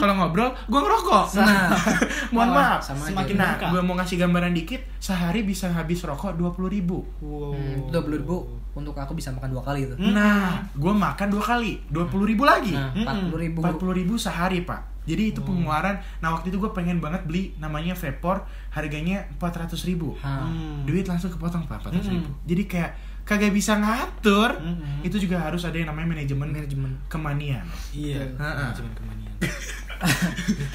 Kalau ngobrol, gue ngerokok. Nah. [laughs] Mohon Sama- maaf. sama aja. Semakin nah, Buka. gue mau ngasih gambaran dikit, sehari bisa habis rokok 20.000 ribu. Wow. Hmm, Dua puluh ribu untuk aku bisa makan dua kali Hmm. itu. Nah, gue makan dua kali, 20.000 ribu lagi. Hmm. Nah, Mm-mm. empat puluh ribu. Oh. 40.000 ribu sehari, Pak. Jadi itu pengeluaran. Nah waktu itu gue pengen banget beli namanya vapor, harganya 400.000 ribu. Hmm. Duit langsung kepotong pak 400.000 Hmm. Jadi kayak kagak bisa ngatur. Itu juga harus ada yang namanya manajemen manajemen kemanian. Iya. Heeh. Cuman kemanian.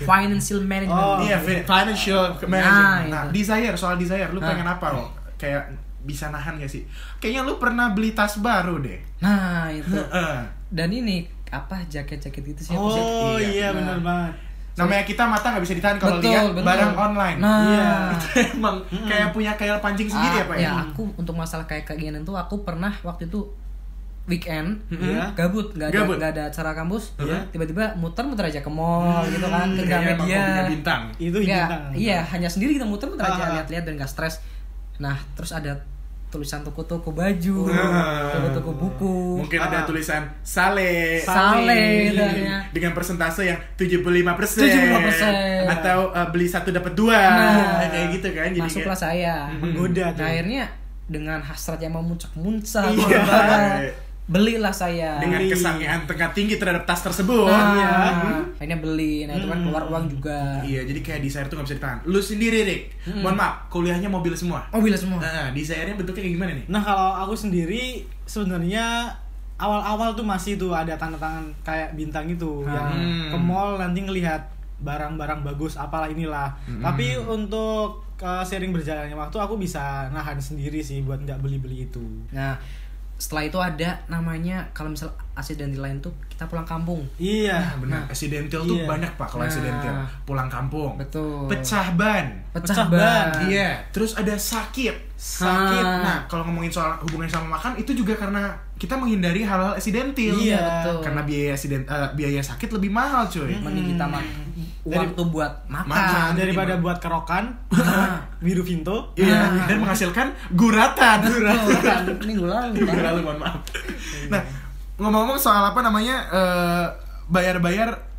Financial management. Oh, Iya, fi- financial management. Nah, itu. Nah. desire soal desire, lu pengen apa lo? Kayak bisa nahan gak sih? Kayaknya lu pernah beli tas baru deh. Nah, itu. Heeh. Dan ini apa jaket-jaket itu sih? apa sih? Oh Iya. iya benar banget. Namanya kita mata nggak bisa ditahan kalau Betul, lihat betul. barang online. Nah. [laughs] Iya. [laughs] Emang kayak punya kail pancing sendiri Ah, ya, Pak ya? ya, aku untuk masalah kayak keinginan tuh aku pernah waktu itu weekend Iya. gabut nggak ada Mm-hmm. Gabut. nggak ada acara kampus Iya. tiba-tiba muter-muter aja ke mall gitu kan ke Kayaknya Mm-hmm. emang Gramedia kopinya Iya, bintang. Itu Nggak, bintang. iya hanya sendiri kita muter-muter aja Ah. lihat-lihat dan nggak stres nah terus ada tulisan toko-toko baju Ah. toko-toko buku Mungkin ada Ah. tulisan sale. [laughs] sale dan ya. dengan persentase yang 75%, 75%. atau eh, beli satu dapat dua Nah. kayak gitu kan jadi masuklah kayak- Hmm. Iya. saya Menggoda tuh. Nah, akhirnya dengan hasrat yang memuncak-muncak Iya. berlebaran, belilah saya dengan Beli. kesangian tengah tinggi terhadap tas tersebut Nah, Iya. Hmm. akhirnya beli nah itu kan keluar uang juga Iya, jadi kayak desire tuh gak bisa ditahan. Lu sendiri, Rick. Mohon maaf, kuliahnya mobil semua. Hmm. oh bila semua Nah, desire-nya bentuknya kayak gimana nih? Nah kalau aku sendiri sebenarnya awal-awal tuh masih tuh ada tanda tangan kayak bintang itu Hmm. yang ke mall nanti ngelihat barang-barang bagus apalah inilah. Hmm. Tapi untuk uh, sering berjalannya waktu aku bisa nahan sendiri sih buat nggak beli-beli itu. nah setelah itu ada namanya kalau misal accident di lain tuh kita pulang kampung Nah, Iya. benar. Accidental tuh Iya. banyak, Pak, kalau Nah. accidental. Pulang kampung. Betul. Pecah ban. Pecah pecah, ban ban, Iya, terus ada sakit. Sakit. Ah. Nah, kalau ngomongin soal hubungannya sama makan itu juga karena kita menghindari hal-hal accidental. Iya, betul. Karena biaya accident eh, biaya sakit lebih mahal, cuy. mending kita Hmm. mah uang Dari- tuh buat Oh. makan Makan. Hmm. Nah, daripada buat [laughs] kerokan, biru vinto. Iya, dan menghasilkan guratan. Tuh, [laughs] kan, ini gue lalu kan. Lalu mohon maaf. Iya. Nah, ngomong-ngomong soal apa namanya eh, bayar-bayar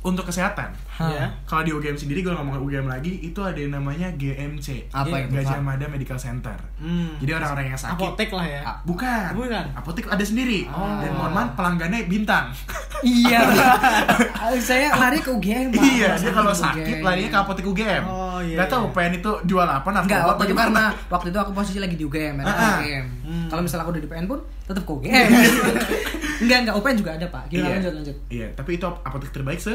untuk kesehatan. Hah. Iya. Kalau di UGM sendiri gue ngomong UGM lagi itu ada yang namanya GMC. Apa itu, Iya, Gajah Pak? Mada Medical Center. Hmm. Jadi orang-orang yang sakit Apotek lah ya. Ah, bukan. Bukan. Oh. Apotek ada sendiri. Dan mohon maaf pelanggannya bintang. [laughs] iya saya lari ke UGM Pak. iya, Saya dia kalau ke sakit UGM. larinya ke apotek UGM. Oh, iya, Gak tau iya. PN itu jual apa narkoba Enggak, apa waktu itu gimana. karena waktu itu aku posisi lagi di UGM, ya, Ah, ah. UGM. Hmm. Kalau misalnya aku udah di PN pun tetap ke UGM. [laughs] enggak, enggak UPN juga ada, Pak. Gimana Iya. lanjut lanjut. Iya, tapi itu ap- apotek terbaik se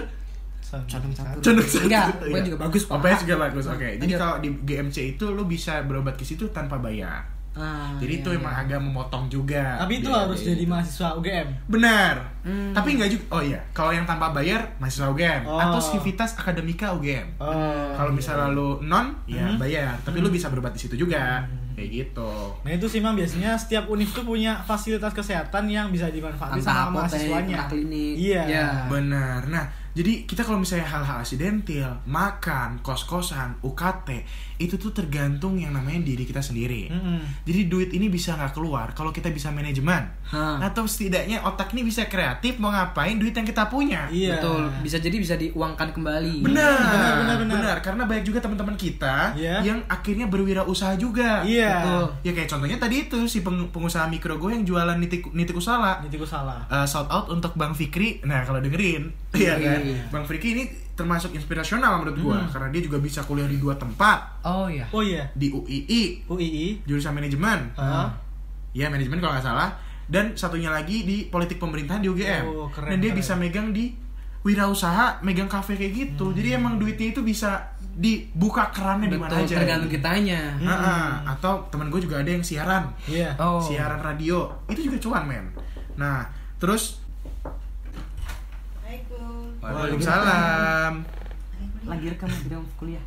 Satu- satu. Condong satu. Enggak, Iya. UPN juga bagus, Pak. UPN juga bagus. Oke. Jadi Lanjut. kalau di GMC itu lu bisa berobat ke situ tanpa bayar. Ah, Jadi iya, itu iya. emang agak memotong juga. Tapi itu Biaya- harus biaya. jadi mahasiswa UGM. Benar. Hmm. Tapi enggak juga. Oh iya, kalau yang tanpa bayar mahasiswa UGM Oh. atau civitas akademika UGM. Oh, kalau iya. misalnya lu non ya Hmm. bayar, tapi lu bisa berobat di situ juga. Kayak gitu. Nah itu sih Mam biasanya setiap univ tuh punya fasilitas kesehatan yang bisa dimanfaatkan Entah sama apotek, entah mahasiswanya. klinik. Iya. Iya. Benar. Nah, jadi kita kalau misalnya hal-hal asidentil, makan, kos-kosan, UKT, itu tuh tergantung yang namanya diri kita sendiri. Mm-mm. Jadi duit ini bisa nggak keluar kalau kita bisa manajemen. Hah. Atau setidaknya otak ini bisa kreatif mau ngapain duit yang kita punya. Iya. Betul, bisa jadi bisa diuangkan kembali. Benar, Benar, benar, benar, benar. benar. Karena banyak juga teman-teman kita Iya. yang akhirnya berwirausaha juga. Iya. Betul. Ya kayak contohnya tadi itu si peng- pengusaha mikro gue yang jualan nitik nitik usaha. Jadi gue salah. Eh, shout out untuk Bang Fikri. Nah, kalau dengerin, [laughs] iya kan? Bang Fikri ini termasuk inspirasional menurut gue karena dia juga bisa kuliah di dua tempat, Oh iya. Oh iya. di UII, UII. jurusan manajemen. Ah. Hah? Ya, manajemen kalau nggak salah. Dan satunya lagi di politik pemerintahan di UGM. Oh, keren, Dan dia keren. bisa megang di wirausaha, megang kafe kayak gitu. Jadi emang duitnya itu bisa dibuka kerannya di mana Betul, aja. tergantung kitanya. Ah, ah. atau teman gue juga ada yang siaran. Iya. Oh. Siaran radio. Itu juga cuan, men. Nah, terus Assalamualaikum. Waalaikumsalam. Lagi rekam video kuliah.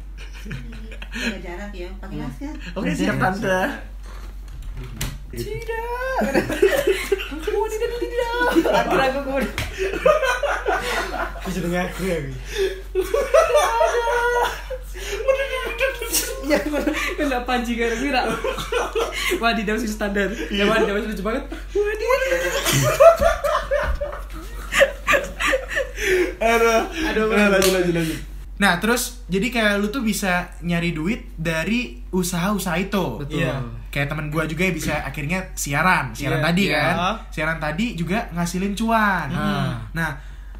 Jaga jarak ya, pakai masker. Oke, Iya, siap Tante. Aku jadi ngaku ya. Bi. Iya, benar. Kena panji gara kira. Wadidaw sih standar. Iya. Ya wadidaw sih lucu banget. Wadidaw. Eh, Aduh, Nah, terus jadi kayak lu tuh bisa nyari duit dari usaha-usaha itu. Betul. Iya. Kayak teman gua juga yang bisa akhirnya siaran, siaran Iya. tadi Iya. kan. Siaran tadi juga ngasilin cuan. Hmm. Nah,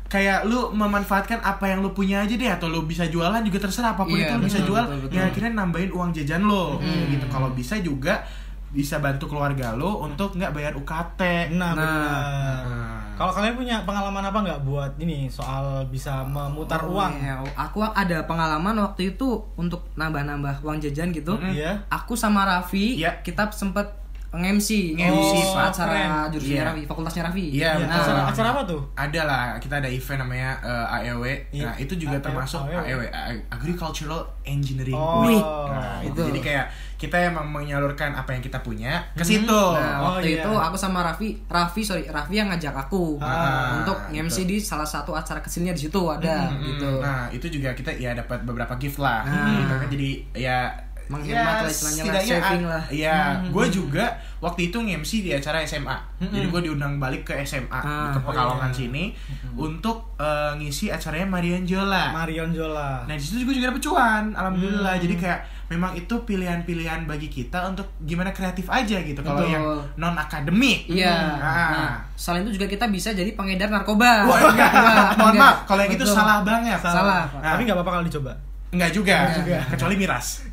kayak lu memanfaatkan apa yang lu punya aja deh atau lu bisa jualan juga terserah apapun Iya, itu lu bisa betul, jual betul, betul. Hmm. ya akhirnya nambahin uang jajan lo kayak gitu kalau bisa juga bisa bantu keluarga lo untuk nggak bayar UKT Nah, benar. nah. Kalau kalian punya pengalaman apa nggak buat ini soal bisa memutar Oh, uang? iya. Aku ada pengalaman waktu itu untuk nambah-nambah uang jajan gitu. Iya. Aku sama Raffi Iya. kita sempet nge-MC Nge-MC, untuk Pak. acara Keren. jurusannya Iya. Raffi, fakultasnya Raffi. Iya, Iya, betul. acara, acara apa tuh? ada lah kita ada event namanya eh, AEW Iya. nah itu juga AEW. termasuk AEW A- Agricultural Engineering Oh. Week nah, itu Betul. jadi kayak kita emang menyalurkan apa yang kita punya ke situ Nah, Oh, waktu iya. itu aku sama Raffi, Raffi sorry, Raffi yang ngajak aku Ah, untuk nge-MC di salah satu acara kecilnya di situ ada Mm, gitu. Nah, itu juga kita ya dapat beberapa gift lah. Ah. Gitu kan jadi ya Menghemat lah, istilahnya lah, setidaknya saving ad- lah. Iya, gue juga waktu itu nge-MC di acara SMA. Jadi gue diundang balik ke SMA Ah, ke Pekalongan oh iya. sini untuk eh, ngisi acaranya Marian Jola. Marion Jola. Nah disitu juga juga dapet cuan, alhamdulillah. Jadi Hmm. kayak memang itu pilihan-pilihan bagi kita untuk gimana kreatif aja gitu. Kalau Betul. yang non akademik, Iya. Ah. Nah, selain itu juga kita bisa jadi pengedar narkoba. Wah, enggak, Enggak, mohon enggak. maaf. Kalau yang itu Betul. salah banget. Salah. Nah, Tapi nggak apa-apa kalau dicoba. Enggak juga, juga. kecuali miras.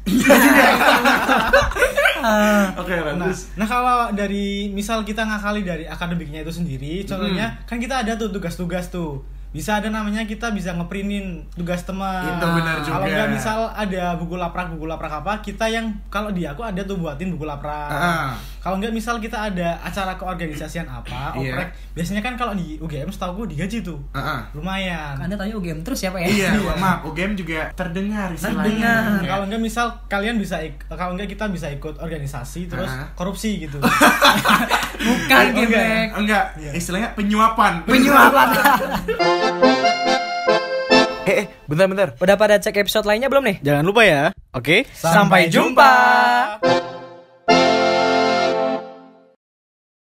Oke, Nah, nah kalau dari misal kita ngakali dari akademiknya itu sendiri, contohnya kan kita ada tuh tugas-tugas tuh. Bisa ada namanya kita bisa ngeprintin tugas teman. Itu benar Kalau juga. nggak misal ada buku laprak, buku laprak apa, kita yang kalau di aku ada tuh buatin buku laprak. Ah. Kalau nggak misal kita ada acara keorganisasian apa, Iya. oprek, biasanya kan kalau di UGM setahu gue digaji tuh. Heeh. Lumayan. Anda tanya UGM terus siapa ya? [laughs] Iya, mohon maaf. UGM juga terdengar istilahnya. Terdengar. Nah, Kayak- kalau enggak misal kalian bisa ik- kalau enggak kita bisa ikut organisasi terus Ah. korupsi gitu. [laughs] Bukan Oke. gemek. enggak, Oh, istilahnya penyuapan. Iya. Penyuapan. Eh, eh, bentar bentar. Udah pada cek episode lainnya belum nih? Jangan lupa ya. Oke, Sampai jumpa.